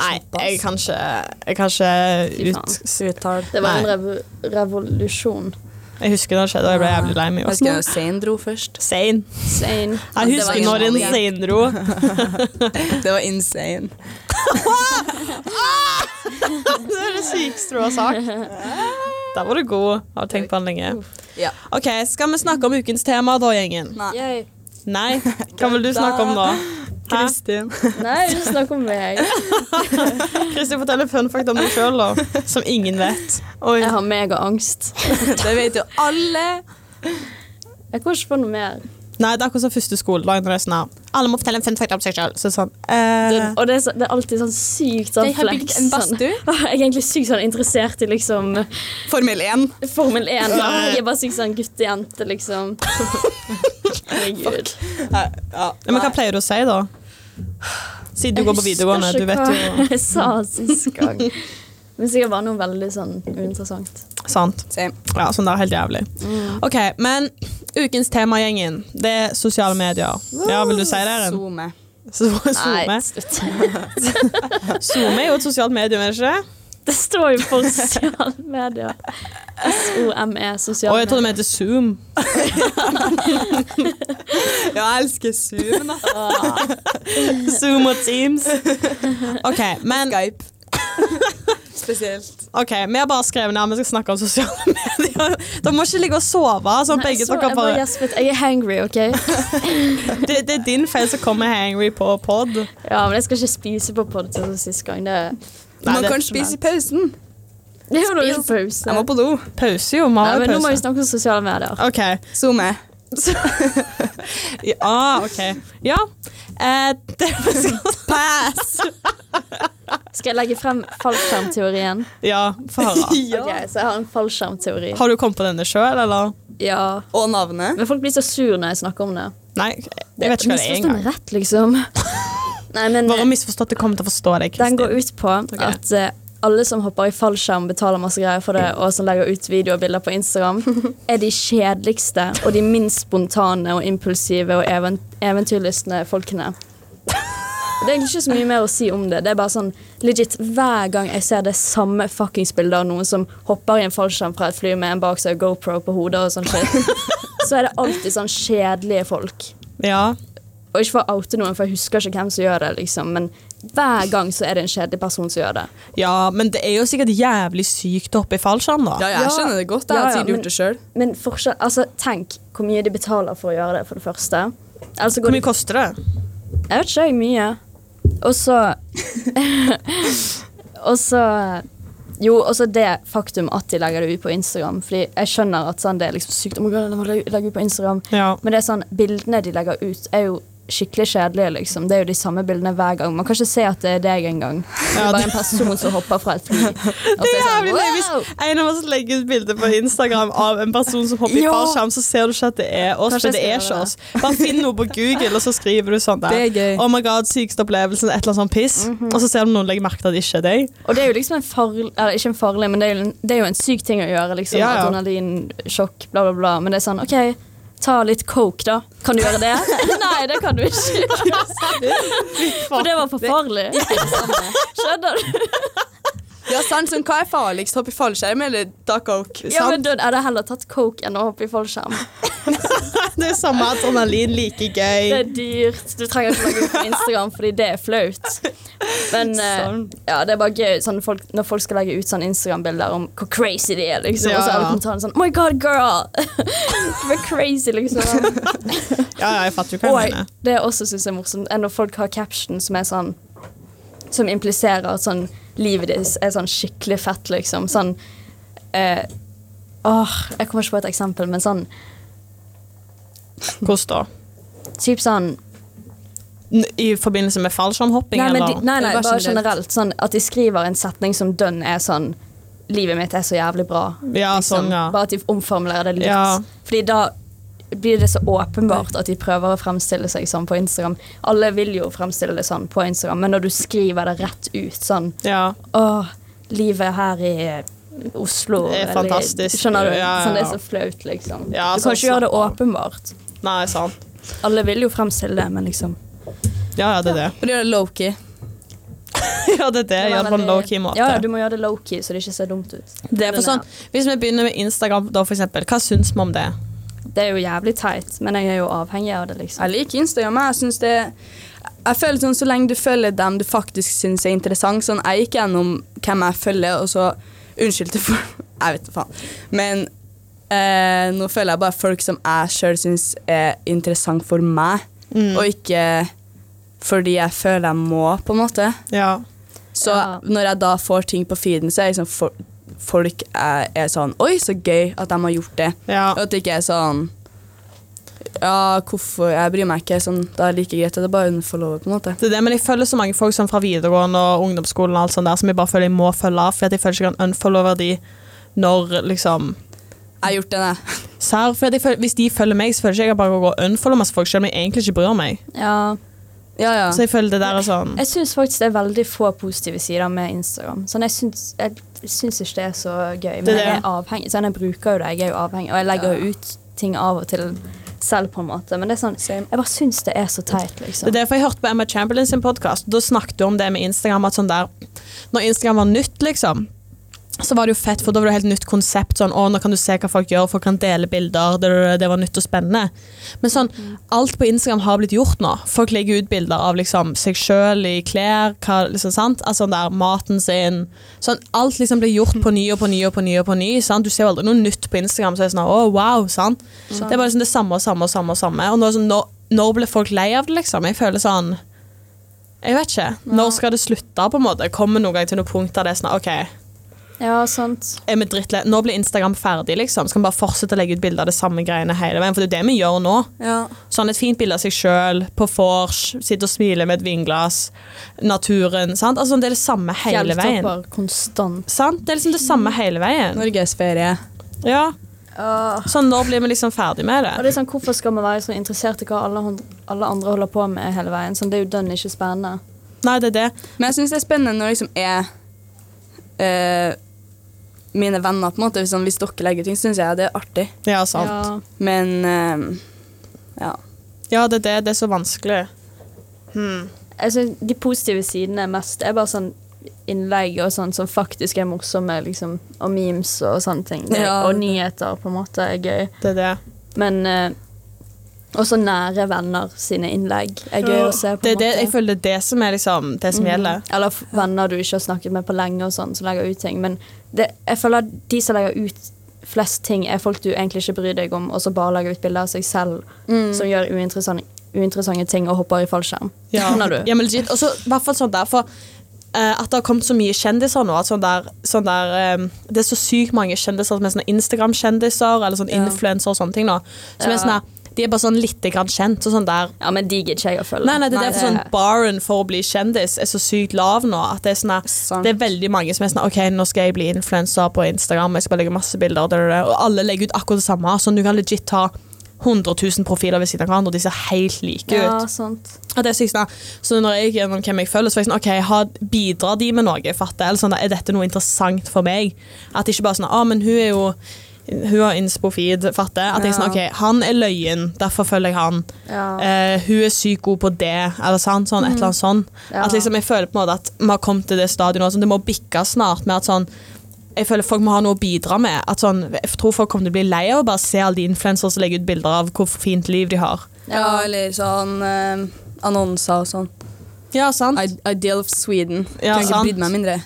Nei, jeg kan ikke, jeg kan ikke Fy ut... Uttal. Det var en Nei. revo revolusjon. Jeg husker det skjedde, og jeg ble jævlig lei meg. Jeg også. husker jo Zain dro først. Sein. Sane. Jeg det var husker når en innholdet. sein dro. Det var insane. Det er det sykeste du har sagt. Der var du god. Jeg har tenkt på den lenge. Ja. Ok, Skal vi snakke om ukens tema, da, gjengen? Nei. Yay. Nei? Hva vil du snakke om da? Hæ? Kristin. Nei, du snakker om meg. Kristin, fortell en fun fact om deg sjøl, da. Som ingen vet. Oi, Jeg har megaangst. det vet jo alle. Jeg kommer ikke på noe mer. Nei, det er akkurat som første skoledag. Når det er sånn her, alle må fortelle en fun fact om seg sjøl. Så er det sånn, Det, eh, og det er, så- det er alltid sånn sykt sånn Jeg har bygd flex, en sånn. badstue. Åh, Jeg er egentlig sykt sånn interessert i liksom Formel 1. Formel 1. Da. Jeg er bare sykt sånn guttejente, liksom. Herregud. Ja. Men hva pleier du å si, da? Siden du går på videregående. Du vet jo Jeg husker ikke hva jeg sa sist gang. Men sikkert bare noe veldig sånn uinteressant. Sant. Same. Ja, sånn der, helt jævlig. OK, men ukens temagjengen, det er sosiale medier. Ja, vil du si det, Eren? Zoome. Zoome. Nei, slutt. Zoome er jo et sosialt medium, er det ikke det? Det står jo for sosiale medier. SOME, Å, E, sosiale jeg trodde medier. de heter Zoom. Ja, jeg elsker Zoom. da. Zoom og Teams. OK, men Skype. Spesielt. Ok, vi har bare skrevet ned, vi skal snakke om sosiale medier. Dere må ikke ligge og sove. Sånn, Nei, begge så dere jeg sånn. bare bare, gjespet. E, Jeg er hangry, OK? det, det er din feil som kommer hangry på pod. Ja, men jeg skal ikke spise på pod som sist gang. Det Man kan spise i pausen. Det er jo noe pause. Jeg må på do. Pause, jo. Nei, men Vi nå må vi har jo pause. snakke om sosiale medier. OK. Zoome. Ja, ah, ok. Ja. Eh, det vi skal Pass! Skal jeg legge frem fallskjermteorien? Ja, få høre. Ja. Ok, så jeg har en fallskjermteori. Har du kommet på denne sjøl, eller? Ja. Og navnet. Men folk blir så sur når jeg snakker om det. Nei, jeg vet ikke hva det er Misforstå meg engang. rett, liksom. Nei, men Bare misforstått. Jeg kommer til å forstå deg. den Kristin. går ut på at eh, alle som hopper i fallskjerm, betaler masse greier for det, og som legger ut videoer og bilder på Instagram, er de kjedeligste og de minst spontane og impulsive og even eventyrlystne folkene. Det er egentlig ikke så mye mer å si om det. Det er bare sånn, legit, Hver gang jeg ser det samme fuckings bildet av noen som hopper i en fallskjerm fra et fly med en bak seg og GoPro på hodet og sånn shit, så er det alltid sånn kjedelige folk. Ja. Og ikke for å oute noen, for jeg husker ikke hvem som gjør det, liksom. Men hver gang så er det en kjedelig person som gjør det. ja, men det er jo sikkert jævlig sykt å hoppe i fallskjerm, da. Ja, jeg skjønner det godt. Jeg har Ja, ja, sikkert men- gjort det sjøl. Men forskjell, altså, tenk hvor mye de betaler for å gjøre det, for det første. Altså, Hvor går det, mye koster det? jeg vet ikke, jeg mye. Og så Og så Jo, og så det faktum at de legger det ut på Instagram. Fordi jeg skjønner at sånn, det er liksom sykt. Oh my God, de må legge- legge ut på Instagram. Ja. Men det er sånn, bildene de legger ut, er jo skikkelig kjedelige. liksom. Det er jo de samme bildene hver gang. Man kan ikke se at det er deg engang. Det Ja, er bare det- en person som hopper fra et fly. At Det er sånn, jævlig løye hvis wow! en av oss legger ut bilde på Instagram av en person som hopper i Ja. fallskjerm, så ser du ikke at det er oss, Kanskje men det jeg er skal ikke gjøre oss. Bare finn noe på Google, og så skriver du sånn der. Det er gøy. Oh my god, sykeste opplevelsen, et eller annet sånt piss. Mhm. Og så ser du noen legger merke til at det ikke er deg. Og det er jo liksom en farlig Eller ikke en farlig, men det er jo en, det er jo en syk ting å gjøre. liksom, Ja, ja. Adrenalinsjokk, bla, bla, bla. Men det er sånn OK, ta litt coke, da. Kan du gjøre det? Nei, det kan du ikke. For det var for farlig. Skjønner du? Ja, sant, sånn, Hva er farligst, hoppe i fallskjerm eller ta coke? Ja, Sant? men Da hadde jeg heller tatt coke enn å hoppe i fallskjerm. Det er samme adrenalin, like Det gøy. er dyrt. Du trenger ikke lage ut på Instagram fordi det er flaut. Men eh, Sånn. ja, det er bare gøy sånn folk, når folk skal legge ut sånn Instagram-bilder om hvor crazy de er. liksom, Ja. Og så er det kommentaren sånn Oh my god, girl! Du er crazy, liksom. Ja, ja, jeg fatter jo hva Og jeg mener. det jeg også syns er morsomt, er når folk har caption som er sånn Som impliserer at sånn livet ditt er sånn skikkelig fett, liksom. Sånn eh, Åh, jeg kommer ikke på et eksempel, men sånn Hvordan da? typ sånn N- I forbindelse med fallskjermhopping, Nei, men de, eller? nei, nei Eller bare bare generelt? generelt. Sånn at de skriver en setning som dønn er sånn Livet mitt er så jævlig bra. Ja, sånn, ja. liksom, Bare at de omformulerer det litt. Ja. Fordi da blir det så åpenbart at de prøver å fremstille seg sånn på Instagram. Alle vil jo fremstille det sånn på Instagram, men når du skriver det rett ut sånn Ja. Åh, livet her i Oslo Det er eller- fantastisk. Skjønner du? Ja, ja, ja. Sånn det er så flaut, liksom. Ja, du kan sånn ikke gjøre det slapp av. åpenbart. Nei, sant. Alle vil jo fremstille det, men liksom Ja, ja, det er det. For å gjøre det low-key. Ja, det er det. Gjør det på en low-key måte. Ja, ja, du må gjøre det low-key, så det ikke ser dumt ut. Det er for sånn, hvis vi begynner med Instagram, da, for eksempel, hva syns vi om det? Det er jo jævlig teit, men jeg er jo avhengig av det, liksom. Jeg liker Instagram. Jeg synes det jeg føler sånn, Så lenge du følger dem du faktisk syns er interessant sånn, Jeg gikk gjennom hvem jeg følger, og så Unnskyld til folk Jeg vet da faen. Men eh, nå føler jeg bare folk som jeg sjøl syns er interessant for meg, Mm, og ikke fordi jeg føler jeg må, på en måte. Ja. Så Ja. når jeg da får ting på feeden, så er liksom for, folk er, er sånn Oi, så gøy at de har gjort det. ja. Og at det ikke er sånn Ja, hvorfor Jeg bryr meg ikke. Sånn, det er like greit at jeg bare unfollower, på en måte. Det er det, men jeg følger så mange folk sånn fra videregående og ungdomsskolen og alt sånt der, som jeg bare føler jeg må følge av, for jeg føler ikke jeg kan unfollowe de når liksom Jeg har gjort det, jeg. Serr, for jeg føler, Hvis de følger meg, så føler jeg ikke jeg bare går og unfollower masse folk, selv om jeg egentlig ikke bryr meg. Ja. Ja, ja. Så jeg føler det der er sånn Jeg syns faktisk det er veldig få positive sider med Instagram. Sånn, jeg syns, jeg syns ikke det er så gøy, men Det er det. jeg er avhengig. Sånn, jeg bruker jo det, jeg er jo avhengig, og jeg legger jo ut ting av og til selv, på en måte. Men det er sånn, Same. jeg bare syns det er så teit, liksom. Det er derfor jeg hørte på Emma Chamberlain sin podkast. Da snakket hun om det med Instagram. At sånn der, når Instagram var nytt, liksom, så var det jo fett, for da var det et helt nytt konsept. sånn, å, Nå kan du se hva folk gjør, folk kan dele bilder. Det, det, det var nytt og spennende. Men sånn, alt på Instagram har blitt gjort nå. Folk legger ut bilder av liksom, seg sjøl i klær, hva, liksom, sant? Altså, sånn der, maten sin. Sånn, alt liksom blir gjort på ny og på ny og på ny. og på ny, sant? Du ser jo aldri noe nytt på Instagram. så er det sånn, å, wow, sant? Det er bare liksom det samme og samme og samme. og samme. Og nå, er det sånn, når, når ble folk lei av det, liksom? Jeg føler sånn Jeg vet ikke. Når skal det slutte, på en måte? Kommer noen gang til noe punkt der det er sånn OK Ja, sant. er vi drittlei. Nå blir Instagram ferdig, liksom. Så kan vi bare fortsette å legge ut bilder av det samme greiene hele veien. For det er det vi gjør nå. ja. Sånn et fint bilde av seg sjøl, på vors, sitte og smile med et vinglass, naturen. sant? Altså, det er det samme hele veien. Fjelltopper konstant. Sant? Det er liksom det samme hele veien. Norgesferie. Ja. Sånn, når blir vi liksom ferdig med Og det? det er sånn, Hvorfor skal man være så interessert i hva alle, hund- alle andre holder på med hele veien? Sånn, det er jo dønn ikke spennende. Nei, det er det. Men jeg syns det er spennende når det liksom er eh, mine venner, på en måte. Hvis, sånn, hvis dere legger ut ting, syns jeg det er artig. Ja, sant. Men eh, ja. Ja, det er det. Det er så vanskelig. Ja. Jeg Hmm. synes Altså, de positive sidene er mest er bare sånn innlegg og sånn som faktisk er morsomme, liksom, og memes og sånne ting. Det, Ja. Og nyheter, på en måte, er gøy. Det er det. Men eh, også nære venner sine innlegg er gøy å se, på Det en er det, jeg måte. Mm. føler det er det som er liksom, det som gjelder. Eller f- venner du ikke har snakket med på lenge, og sånn, som legger ut ting. Men det, jeg føler at de som legger ut flest ting, er folk du egentlig ikke bryr deg om, og som bare legger ut bilder av seg selv, Mm. som gjør uinteressante, uinteressante ting og hopper i fallskjerm. Skjønner du? Ja, men legit. Og så i hvert fall sånn der, for eh, at det har kommet så mye kjendiser nå. At sånn der, sånn der, eh, det er så sykt mange kjendiser som er sånne Instagram-kjendiser eller sånn Ja. influenser og sånne ting nå. Som Ja. er sånn der, de er bare sånn lite grann kjent. Og sånn der. Ja, men de gidder ikke jeg å følge. Nei, nei, det er derfor sånn det- baren for å bli kjendis er så sykt lav nå. At det er sånn der, Sant. det er veldig mange som er sånn OK, nå skal jeg bli influenser på Instagram, jeg skal bare legge masse bilder, da, da, da, og alle legger ut akkurat det samme. Sånn du kan legit ta 100 000 profiler ved siden av hverandre, og de ser helt like ut. Ja, sant. At det er sykt, sånn, så når jeg gikk gjennom hvem jeg følger, så var jeg sånn, ok, har, bidrar de med noe, fatter jeg? Eller sånn, er dette noe interessant for meg? At det ikke bare sånn, ah, men hun er jo, hun har inspofid, fatter jeg? At jeg Ja. sånn, ok, han er løyen, derfor følger jeg han. Eh, hun er sykt god på det, eller sånn, sånn et eller annet sånn. Ja. At liksom, jeg føler på en måte at vi har kommet til det stadiet nå, sånn, det må bikke snart med at sånn, jeg føler folk må ha noe å bidra med. At sånn, jeg tror folk kommer til å bli lei av å bare se alle de influensere som legger ut bilder av hvor fint liv de har. ja, eller sånn eh, annonser og sånn. Ja, sant? I- Ideal of Sweden. Ja, kan ikke sant. bry meg mindre.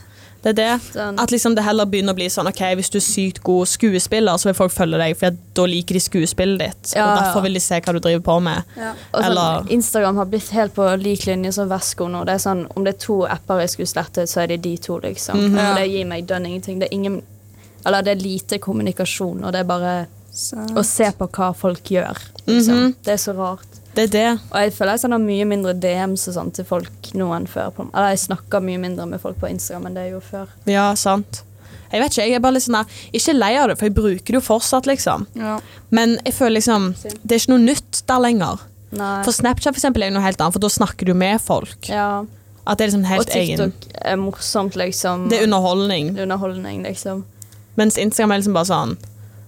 Det er det. Den- At liksom det heller begynner å bli sånn Ok, hvis du er sykt god skuespiller, så vil folk følge deg, for da liker de skuespillet ditt. Ja, og ja. derfor vil de se hva du driver på med. Og sånn, Eller- Instagram har blitt helt på lik linje som Vesko nå. Det er sånn, Om det er to apper jeg skulle slettet, så er det de to, liksom. Mhm. Og det gir meg dønn ingenting. Det er ingen Eller det er lite kommunikasjon, og det er bare å se på hva folk gjør. Liksom. Mhm. Det er så rart. Det er det. Og jeg føler jeg sender mye mindre DMs og sånn til folk nå enn før. På, eller jeg snakker mye mindre med folk på Instagram enn det jeg gjorde før. Ja, sant. Jeg vet ikke, jeg er bare litt sånn der Ikke lei av det, for jeg bruker det jo fortsatt, liksom. Ja. Men jeg føler liksom Det er ikke noe nytt der lenger. Nei. For Snapchat for eksempel, er jo noe helt annet, for da snakker du med folk. ja. At det er liksom Og helt egen TikTok er morsomt, liksom. Det er underholdning. underholdning, liksom. Mens Instagram er liksom bare sånn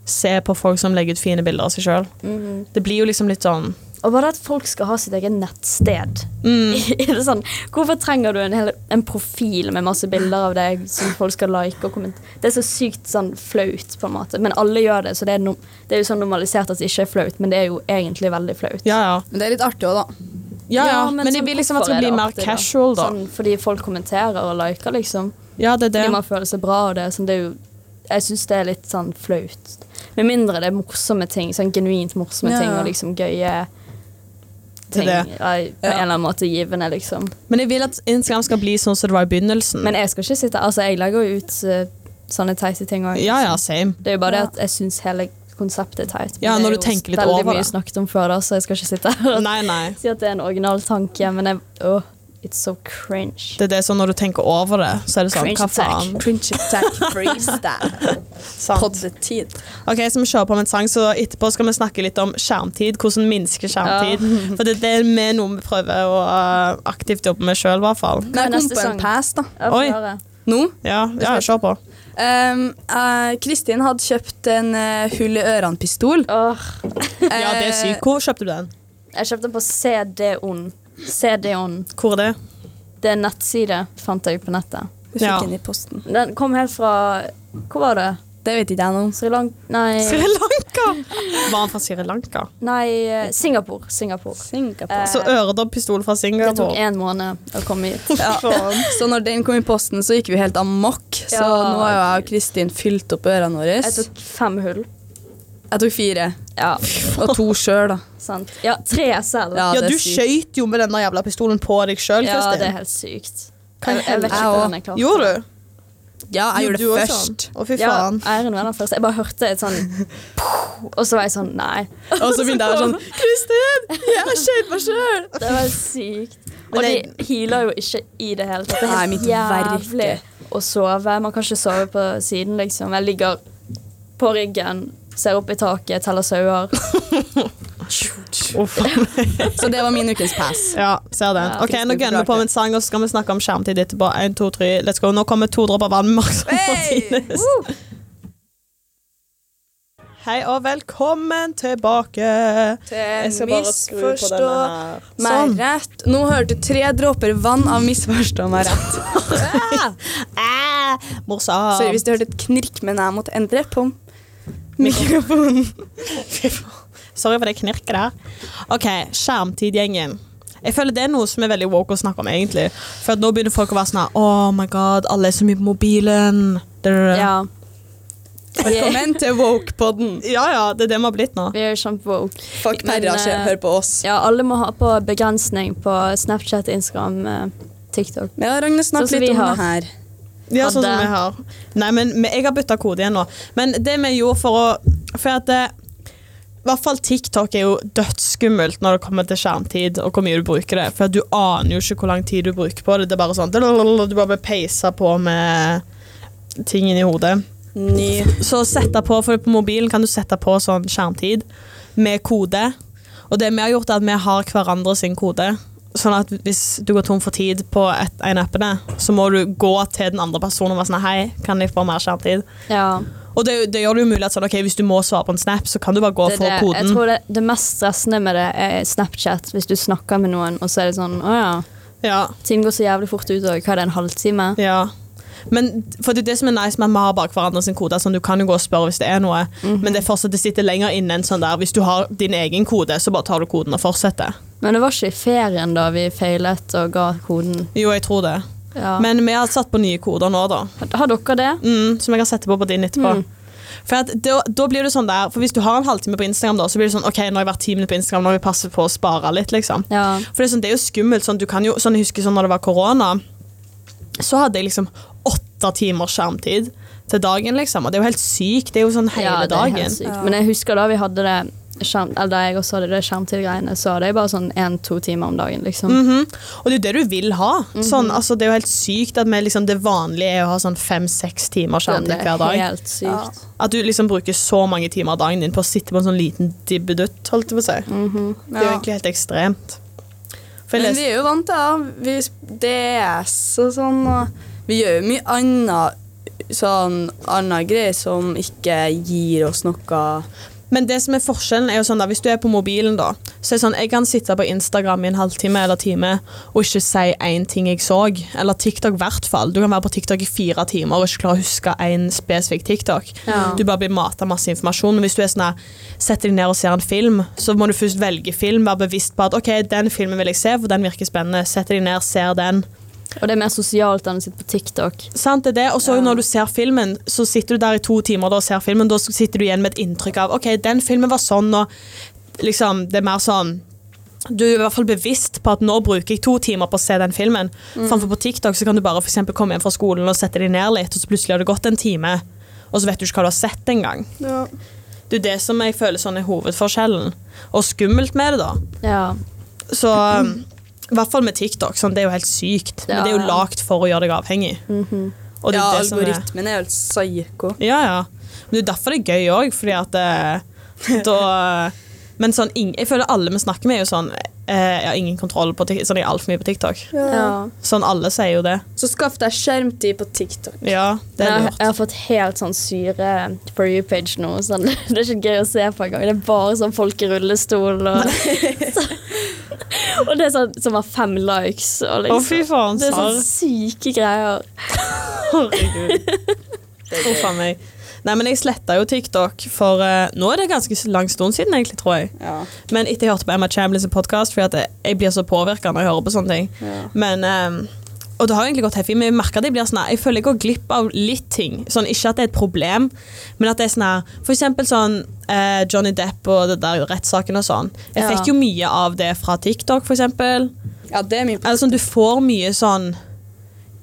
Se på folk som legger ut fine bilder av seg sjøl. Det blir jo liksom litt sånn Mm-hmm. Og bare at folk skal ha sitt eget nettsted. mm, Er det sånn, hvorfor trenger du en, hel, en profil med masse bilder av deg som folk skal like og kommentere? Det er så sykt sånn flaut, på en måte. Men alle gjør det, så det er, no, det er jo sånn normalisert at det ikke er flaut, men det er jo egentlig veldig flaut. Ja, ja. Men det er litt artig òg, da. Ja, ja, men, jeg vil liksom at det skal bli mer casual, da. Sånn, fordi folk kommenterer og liker, liksom. ja, det er det. Fordi man føler seg bra, og det, er sånn, det er jo Jeg syns det er litt sånn flaut. Med mindre det er morsomme ting, sånn genuint morsomme Ja. ting og liksom gøye Det er ting. det. Nei, På Ja. en eller annen måte givende, liksom. Men jeg vil at Instagram skal bli sånn som det var i begynnelsen. Men jeg skal ikke sitte Altså, jeg legger jo ut eh, sånne teite ting òg. ja, ja, same. Det er jo bare Ja. det at jeg syns hele konseptet er teit. men Ja, det når er du jo tenker litt veldig over mye det. snakket om før, da, så jeg skal ikke sitte her og Nei, nei. si at det er en original tanke, men jeg Åh, it's so cringe. Det er det sånn når du tenker over det, så er det sånn, Cringe hva attack. faen? Cringe attack freestyle. Sant. Poddetid. Ok, så vi kjører på med en sang, så etterpå skal vi snakke litt om skjermtid, hvordan minske skjermtid. For det, det er med noe vi prøver å uh, aktivt jobbe med selv, i hvert fall. Men jeg kom neste på sang? en pass, da. Jeg får Oi. høre. Nå. Ja, ja kjør på. Ehm, eh, Kristin hadde kjøpt en eh, hull i ørene-pistol. Åh, Eh, Ja, det er sykt. Hvor kjøpte du den? jeg kjøpte den på CD-on. CD-on. Hvor er det? Det er en nettside, fant jeg på nettet. Hun fikk Ja. den i posten. Den kom helt fra Hvor var det? Det vet ikke jeg nå. Sri Lanka Nei, Sri Lanka! Var han fra Sri Lanka? nei eh, Singapore. Singapore. Singapore. Så øredobbpistol fra Det Eh. tok Singapore. én måned å komme hit. Ja. Så når den kom i posten, så gikk vi helt amok. Så Ja. nå har jo jeg og Kristin fylt opp ørene våre. Jeg tok fem hull. Jeg tok fire. Ja, Og to sjøl, da. sant. Ja, tre selv. Ja, Ja, det er du sykt. skjøt jo med denne jævla pistolen på deg sjøl, Ja, det er Kristin. helt sykt. Hva i Jeg, jeg vet helvete? ikke hvordan jeg klarte Gjorde du? Ja, jeg gjorde Du det også? først. Å, fy Ja, faen. æren være den første. Jeg bare hørte et sånn Og så var jeg sånn Nei. Og så begynte jeg sånn Kristin, jeg skjøt meg sjøl! Det var sykt. Og Men de jeg- healer jo ikke i det hele tatt. Det Nei, er mitt helt jævlig verke. å sove. Man kan ikke sove på siden, liksom. Jeg ligger på ryggen, ser opp i taket, teller sauer. Uff. Så det var min ukens pass. Ja, ser den. Ja, ok, Kristin, Nå gunner vi på klart med en sang, og så skal vi snakke om skjermtid etterpå. En, to, tre, let's go. Nå kommer to dråper vann med Mark Hey! Martinez. Hei og velkommen tilbake. Jeg skal bare skru på denne her. meg Sånn. rett. Nå hørte du tre dråper vann av misforstå meg rett. Ah, morsom. Sorry hvis du hørte et knirk, men jeg måtte endre på mikrofonen. Sorry for det knirket der. Ok, skjermtidgjengen. Jeg føler det er noe som er veldig woke å snakke om, egentlig. For at nå begynner folk å være sånn her, Oh my god, alle er så mye på mobilen. Da, da, da. Ja. Vi Velkommen til woke-podden. ja, ja, det er det vi har blitt nå. vi er jo kjempewoke. Fuck Men, Perra, eh, hør på oss. Ja, alle må ha på begrensning på Snapchat, Instagram, eh, TikTok. Ja, Ragne, Sånn snakk som vi litt om har. det her. Ja, Hadde- sånn som vi har. Nei, men men jeg har bytta kode igjen nå. Men det vi gjorde for å For at eh, i hvert fall TikTok er jo dødsskummelt når det kommer til skjermtid og hvor mye du bruker det. For at du aner jo ikke hvor lang tid du bruker på det. Det er bare sånn Du bare blir peisa på med tingen i hodet. Ny Så sette på, for på mobilen kan du sette på sånn skjermtid med kode. Og det vi har gjort er at vi har hverandre sin kode. Sånn at hvis du går tom for tid på et, en appene, så må du gå til den andre personen og være sånn Hei, kan jeg få mer skjermtid? Ja, Og det, det gjør det jo mulig at sånn, ok, hvis du må svare på en snap, så kan du bare gå det, er for det. Jeg koden. tror det, det mest stressende med det er Snapchat. Hvis du snakker med noen, og så er det sånn Å ja, Ja, tiden går så jævlig fort ut, og hva er det, en halvtime? ja. Men for det, er det som er nice med at vi har bak hverandre sin kode, sånn, du kan jo gå og spørre hvis det er noe, Mhm. men det er fortsatt det sitter lenger inne enn sånn der. Hvis du har din egen kode, så bare tar du koden og fortsetter. Men det var ikke i ferien da vi feilet og ga koden. Jo, jeg tror det. Ja. Men vi har satt på nye koder nå, da. har dere det? Mm, som jeg kan sette på på din etterpå. Mm. For at da, da blir det sånn der, for Hvis du har en halvtime på Instagram, da, så blir det sånn OK, nå har jeg vært ti minutter på Instagram, nå må vi passe på å spare litt. liksom. Ja. For det er, sånn, det er jo skummelt. sånn, du kan jo, sånn, Jeg husker sånn når det var korona, så hadde jeg liksom åtte timer skjermtid til dagen. liksom, Og det er jo helt sykt. Det er jo sånn hele ja, det er dagen. helt sykt. Men jeg husker da vi hadde det skjerm, eller da jeg også hadde det skjermtidgreiene, så hadde jeg bare sånn én-to timer om dagen, liksom. Mhm. Og det er jo det du vil ha. Mhm. sånn, altså, det er jo helt sykt at vi, liksom, det vanlige er å ha sånn fem-seks timer Det skjermtid hver er dag. helt sykt. At du liksom bruker så mange timer av dagen din på å sitte på en sånn liten dibbedutt, holdt jeg på å si. Det er jo Mm. Ja. egentlig helt ekstremt. For jeg Men leste- vi er jo vant til det. Vi sp- DS og sånn. Og vi gjør jo mye annet sånn anna greier som ikke gir oss noe Men det som er forskjellen er jo sånn da, hvis du er på mobilen da, så er det sånn, jeg kan sitte på Instagram i en halvtime eller time og ikke si en ting jeg så, eller TikTok i hvert fall. Du kan være på TikTok i fire timer og ikke klare å huske en spesifikk TikTok. Ja. Du bare blir matet av masse informasjon. Men hvis du er sånn der, setter deg ned og ser en film, så må du først velge film, være bevisst på at ok, den filmen vil jeg se, for den virker spennende. Setter deg ned, ser den. Og det er mer sosialt enn å sitte på TikTok. Sant, det er det. Og så når du ser filmen, så sitter du der i to timer da, og ser filmen, da sitter du igjen med et inntrykk av ok, den filmen var sånn, og liksom, det er mer sånn du er i hvert fall bevisst på at nå bruker jeg to timer på å se den filmen. Framfor på TikTok så kan du bare for eksempel komme hjem fra skolen og sette deg ned litt, og så plutselig har det gått en time, og så vet du ikke hva du har sett engang. Det er jo det som jeg føler sånn er hovedforskjellen. Og skummelt med det, da. Ja. Så um, i hvert fall med TikTok. Sånn, det er jo helt sykt. Men Ja, det er jo ja. lagd for å gjøre deg avhengig. mhm. Og det er ja, det som er- algoritmen er helt psyko. Ja, ja. Men det er derfor det er gøy òg, fordi at eh, da Men sånn, ing- jeg føler alle vi snakker med, er jo sånn eh, Jeg har ingen kontroll på TikTok. Sånn, jeg er altfor mye på TikTok. ja. Sånn, alle sier jo det. Så skaff deg skjermtid på TikTok. Ja, det er jeg, lurt. jeg har fått helt sånn syre for you-page nå. Sånn, det er ikke gøy å se på engang. Det er bare sånn folk i rullestol og så, Og det er sånn som har fem likes. Og Å, liksom. fy faen, det er Sar. sånn syke greier. Herregud. Huff a meg. Nei, men jeg sletta jo TikTok, for eh, nå er det ganske lang stund siden, egentlig, tror jeg. Ja. Men etter jeg hørte på Emma Chamberlains podkast, fordi at jeg, jeg blir så påvirka når jeg hører på sånne ting. Men eh, Og det har jo egentlig gått helt fint, men jeg merker at jeg blir sånn her- Jeg føler jeg går glipp av litt ting. Sånn, Ikke at det er et problem, men at det er sånn her For eksempel sånn eh, Johnny Depp og det der rettssaken og sånn. Jeg Ja. fikk jo mye av det fra TikTok, for eksempel. ja, det er mye Eller sånn, du får mye sånn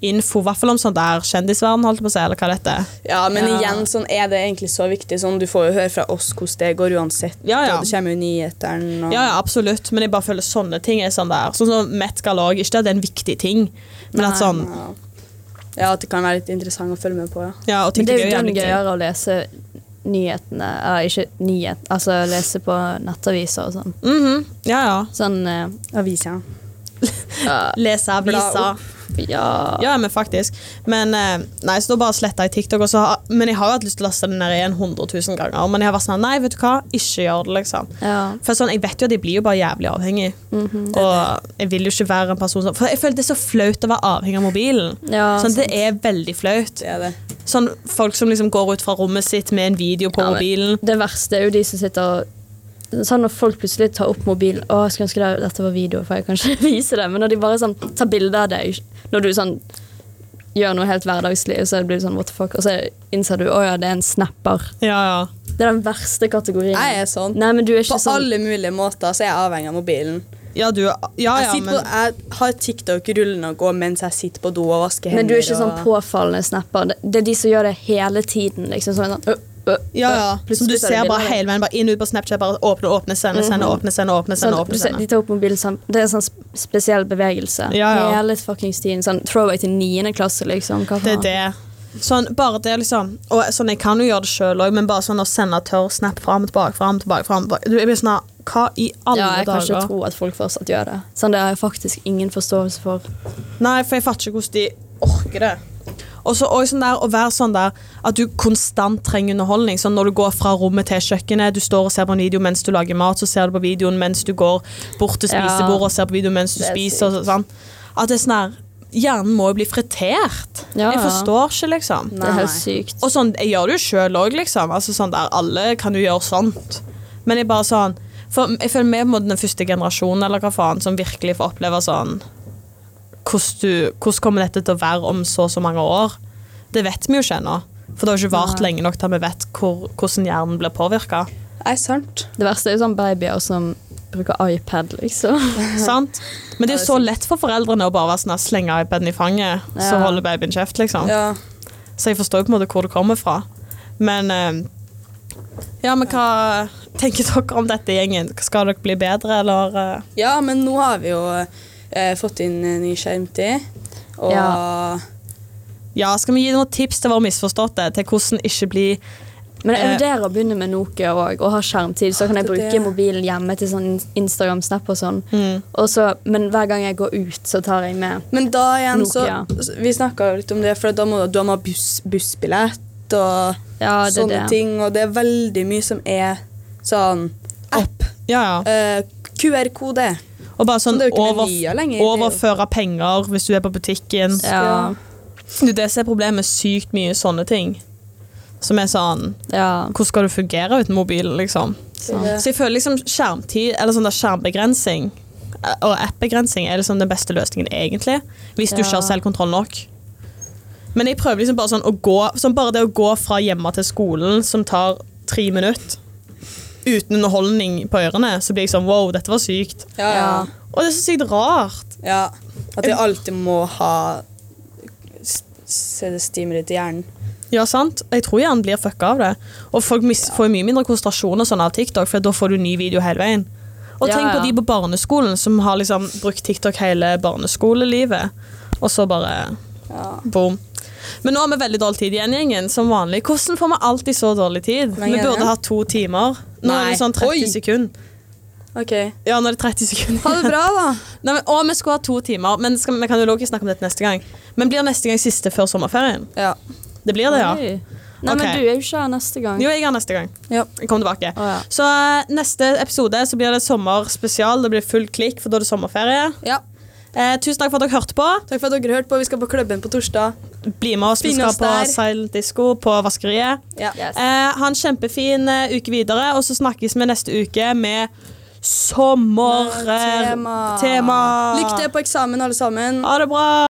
info, i hvert fall om sånn der kjendisverden, holdt jeg på å si, eller hva dette er. Ja, men Ja. igjen, sånn er det egentlig så viktig. Sånn, du får jo høre fra oss hvordan det går uansett. Ja, ja. Og det kommer jo nyhetene. Og... Ja, ja, absolutt, men jeg bare føler sånne ting er sånn der. Sånn som Met Gala også, ikke at det er en viktig ting, men at Nei. sånn Ja. ja, at det kan være litt interessant å følge med på. Ja. Ja, og Men TikTok det er jo jævlig den gøy. gøyere å lese nyhetene Eller ikke nyhet, altså lese på nettaviser og sånn. Mhm, Ja, ja. Sånn eh, Avisa. ja, Lese Bla aviser. opp. ja. Ja, men faktisk. Men eh, nei, så da bare sletta jeg TikTok. Og så har, men jeg har jo hatt lyst til å laste den ned igjen 100 000 ganger. Men jeg har vært sånn Nei, vet du hva, ikke gjør det, liksom. Ja. For sånn, Jeg vet jo at jeg blir jo bare jævlig avhengig. Mhm, Og jeg vil jo ikke være en person som For jeg føler det er så flaut å være avhengig av mobilen. Ja, sånn, Det er veldig flaut. Det er det. Sånn, Folk som liksom går ut fra rommet sitt med en video på Ja, men- mobilen. Det verste er jo de som sitter og Sånn Når folk plutselig tar opp mobil Å, jeg skulle ønske det, dette var video, for jeg kan ikke vise det. Men når de bare sånn, tar bilde av deg når du sånn gjør noe helt hverdagslig, så blir du sånn what the fuck, og så innser du å ja, det er en snapper. Ja, ja. Det er den verste kategorien. Jeg er sånn. Nei, men du er På ikke sånn. alle mulige måter så er jeg avhengig av mobilen. Ja, du, ja, Jeg, ja, sitter men, på, jeg har TikTok rullende og går mens jeg sitter på do og vasker hender. Men du er ikke sånn og- påfallende snapper. Det- Det er de som gjør det hele tiden, liksom. Sånn, sånn, «Ø, ø, ø». ja, ja. Som du Plutselig tar ser bilder av bare det. hele veien bare inn og ut på Snapchat. Bare åpne, åpne, sende, sende, åpne, sende, åpne, sende. Sånn, åpne, du ser, sende. de tar opp mobilen sammen. Det er en sånn sp- spesiell bevegelse. Ja, ja. Hele fuckings tiden. Sånn throwaway til niende klasse, liksom. Hva Det er faen? det. Sånn, bare det, liksom. Og sånn, jeg kan jo gjøre det sjøl òg, men bare sånn å sende tørr snap fram og tilbake, fram og tilbake, fram og tilbake. Du, jeg blir sånn her, Hva i alle ja, jeg kan dager? ikke tro at folk fortsatt gjør det. Sånn, Det har jeg faktisk ingen forståelse for. Nei, for jeg fatter ikke hvordan de orker det. Og så også sånn der, å være sånn der at du konstant trenger underholdning. Sånn når du går fra rommet til kjøkkenet, du står og ser på en video mens du lager mat, så ser du på videoen mens du går bort til Ja. spisebordet og ser på videoen mens du Det er spiser. Og sånn. At det er sånn her Hjernen må jo bli fritert. Ja, Jeg ja. forstår ikke, liksom. Det er Nei, helt nei. sykt. Og sånn, jeg gjør det jo sjøl òg, liksom. Altså, sånn der, alle kan jo gjøre sånt. Men jeg bare sånn For jeg føler vi er den første generasjonen eller hva faen, som virkelig får oppleve sånn hvordan, du, hvordan kommer dette til å være om så og så mange år? Det vet vi jo ikke ennå. For det har jo ikke vart Nei. lenge nok til at vi vet hvor, hvordan hjernen blir påvirka. Nei, sant. Det verste er jo sånn babyer som bruker iPad, liksom. Sant? Men det er jo så lett for foreldrene å bare være sånn, her, slenge iPaden i fanget, så Ja. holder babyen kjeft, liksom. Ja. Så jeg forstår jo på en måte hvor det kommer fra. Men eh, Ja, men hva tenker dere om dette gjengen? Skal dere bli bedre, eller eh? ja, men nå har vi jo eh, fått inn eh, ny skjermtid. Og Ja. Ja, skal vi gi noen tips til våre misforståtte? Til hvordan ikke bli Men jeg Eh. vurderer å begynne med Nokia òg, og ha skjermtid. Så kan jeg Det- bruke mobilen hjemme til sånn Instagram, Snap og sånn. Mm. Og så, men hver gang jeg går ut, så tar jeg med Men da igjen, så Nokia. Vi snakka litt om det, for da må du ha med buss, bussbillett og Ja, det er sånne det. ting. Og det er veldig mye som er sånn app. Ja, ja. eh, QR-kode. Og bare sånn det er jo ikke over, menyer lenger, det er jo- overføre penger hvis du er på butikken. Ja. Du, det som er problemet med sykt mye sånne ting. Som er sånn ja. Hvordan skal du fungere uten mobilen, liksom? Sånn. Det- Så jeg føler liksom skjermtid, eller sånn der skjermbegrensning eh, og app-begrensning er liksom den beste løsningen egentlig, hvis du Ja. ikke har selvkontroll nok. Men jeg prøver liksom bare sånn å gå, sånn bare det å gå fra hjemme til skolen som tar tre minutter, uten underholdning på ørene, så blir jeg sånn, wow, dette var sykt. Ja, ja. Og det er så sykt rart. ja. At vi alltid må ha s- s- stimuli til hjernen. Ja, sant? Jeg tror gjerne blir fucka av det. Og folk mis får mye mindre konsentrasjon og sånn av TikTok, for da får du ny video hele veien. Og Ja, tenk på ja. de på barneskolen som har liksom brukt TikTok hele barneskolelivet, og så bare Ja. boom. Men nå har vi veldig dårlig tid igjen, gjengen, som vanlig. Hvordan får vi alltid så dårlig tid? Hvor lenge Vi er det burde igjen? ha to timer. Nå er Nei. det sånn 30 Oi. sekunder. OK. Ja, nå er det 30 sekunder. Ha det bra, da. Nei, men, og vi skulle ha to timer, men skal, vi kan jo logisk snakke om dette neste gang. Men blir neste gang siste før sommerferien? Ja. Det blir det, ja. Oi. Nei, men Ok. du er jo ikke her neste gang. Jo, jeg er neste gang. Ja. Jeg kommer tilbake. Å, ja. Så eh, neste episode så blir det sommerspesial. Det blir fullt klikk, for da er det sommerferie. ja. Eh, tusen takk for at dere hørte på. Takk for at dere hørte på. Vi skal på klubben på torsdag. Bli med oss. Vi Finn skal oss på der. Silent Disco på Vaskeriet. Ja. Yes. Eh, ha en kjempefin eh, uke videre, og så snakkes vi neste uke med sommertema. Tema. Lykke til på eksamen, alle sammen. Ha det bra.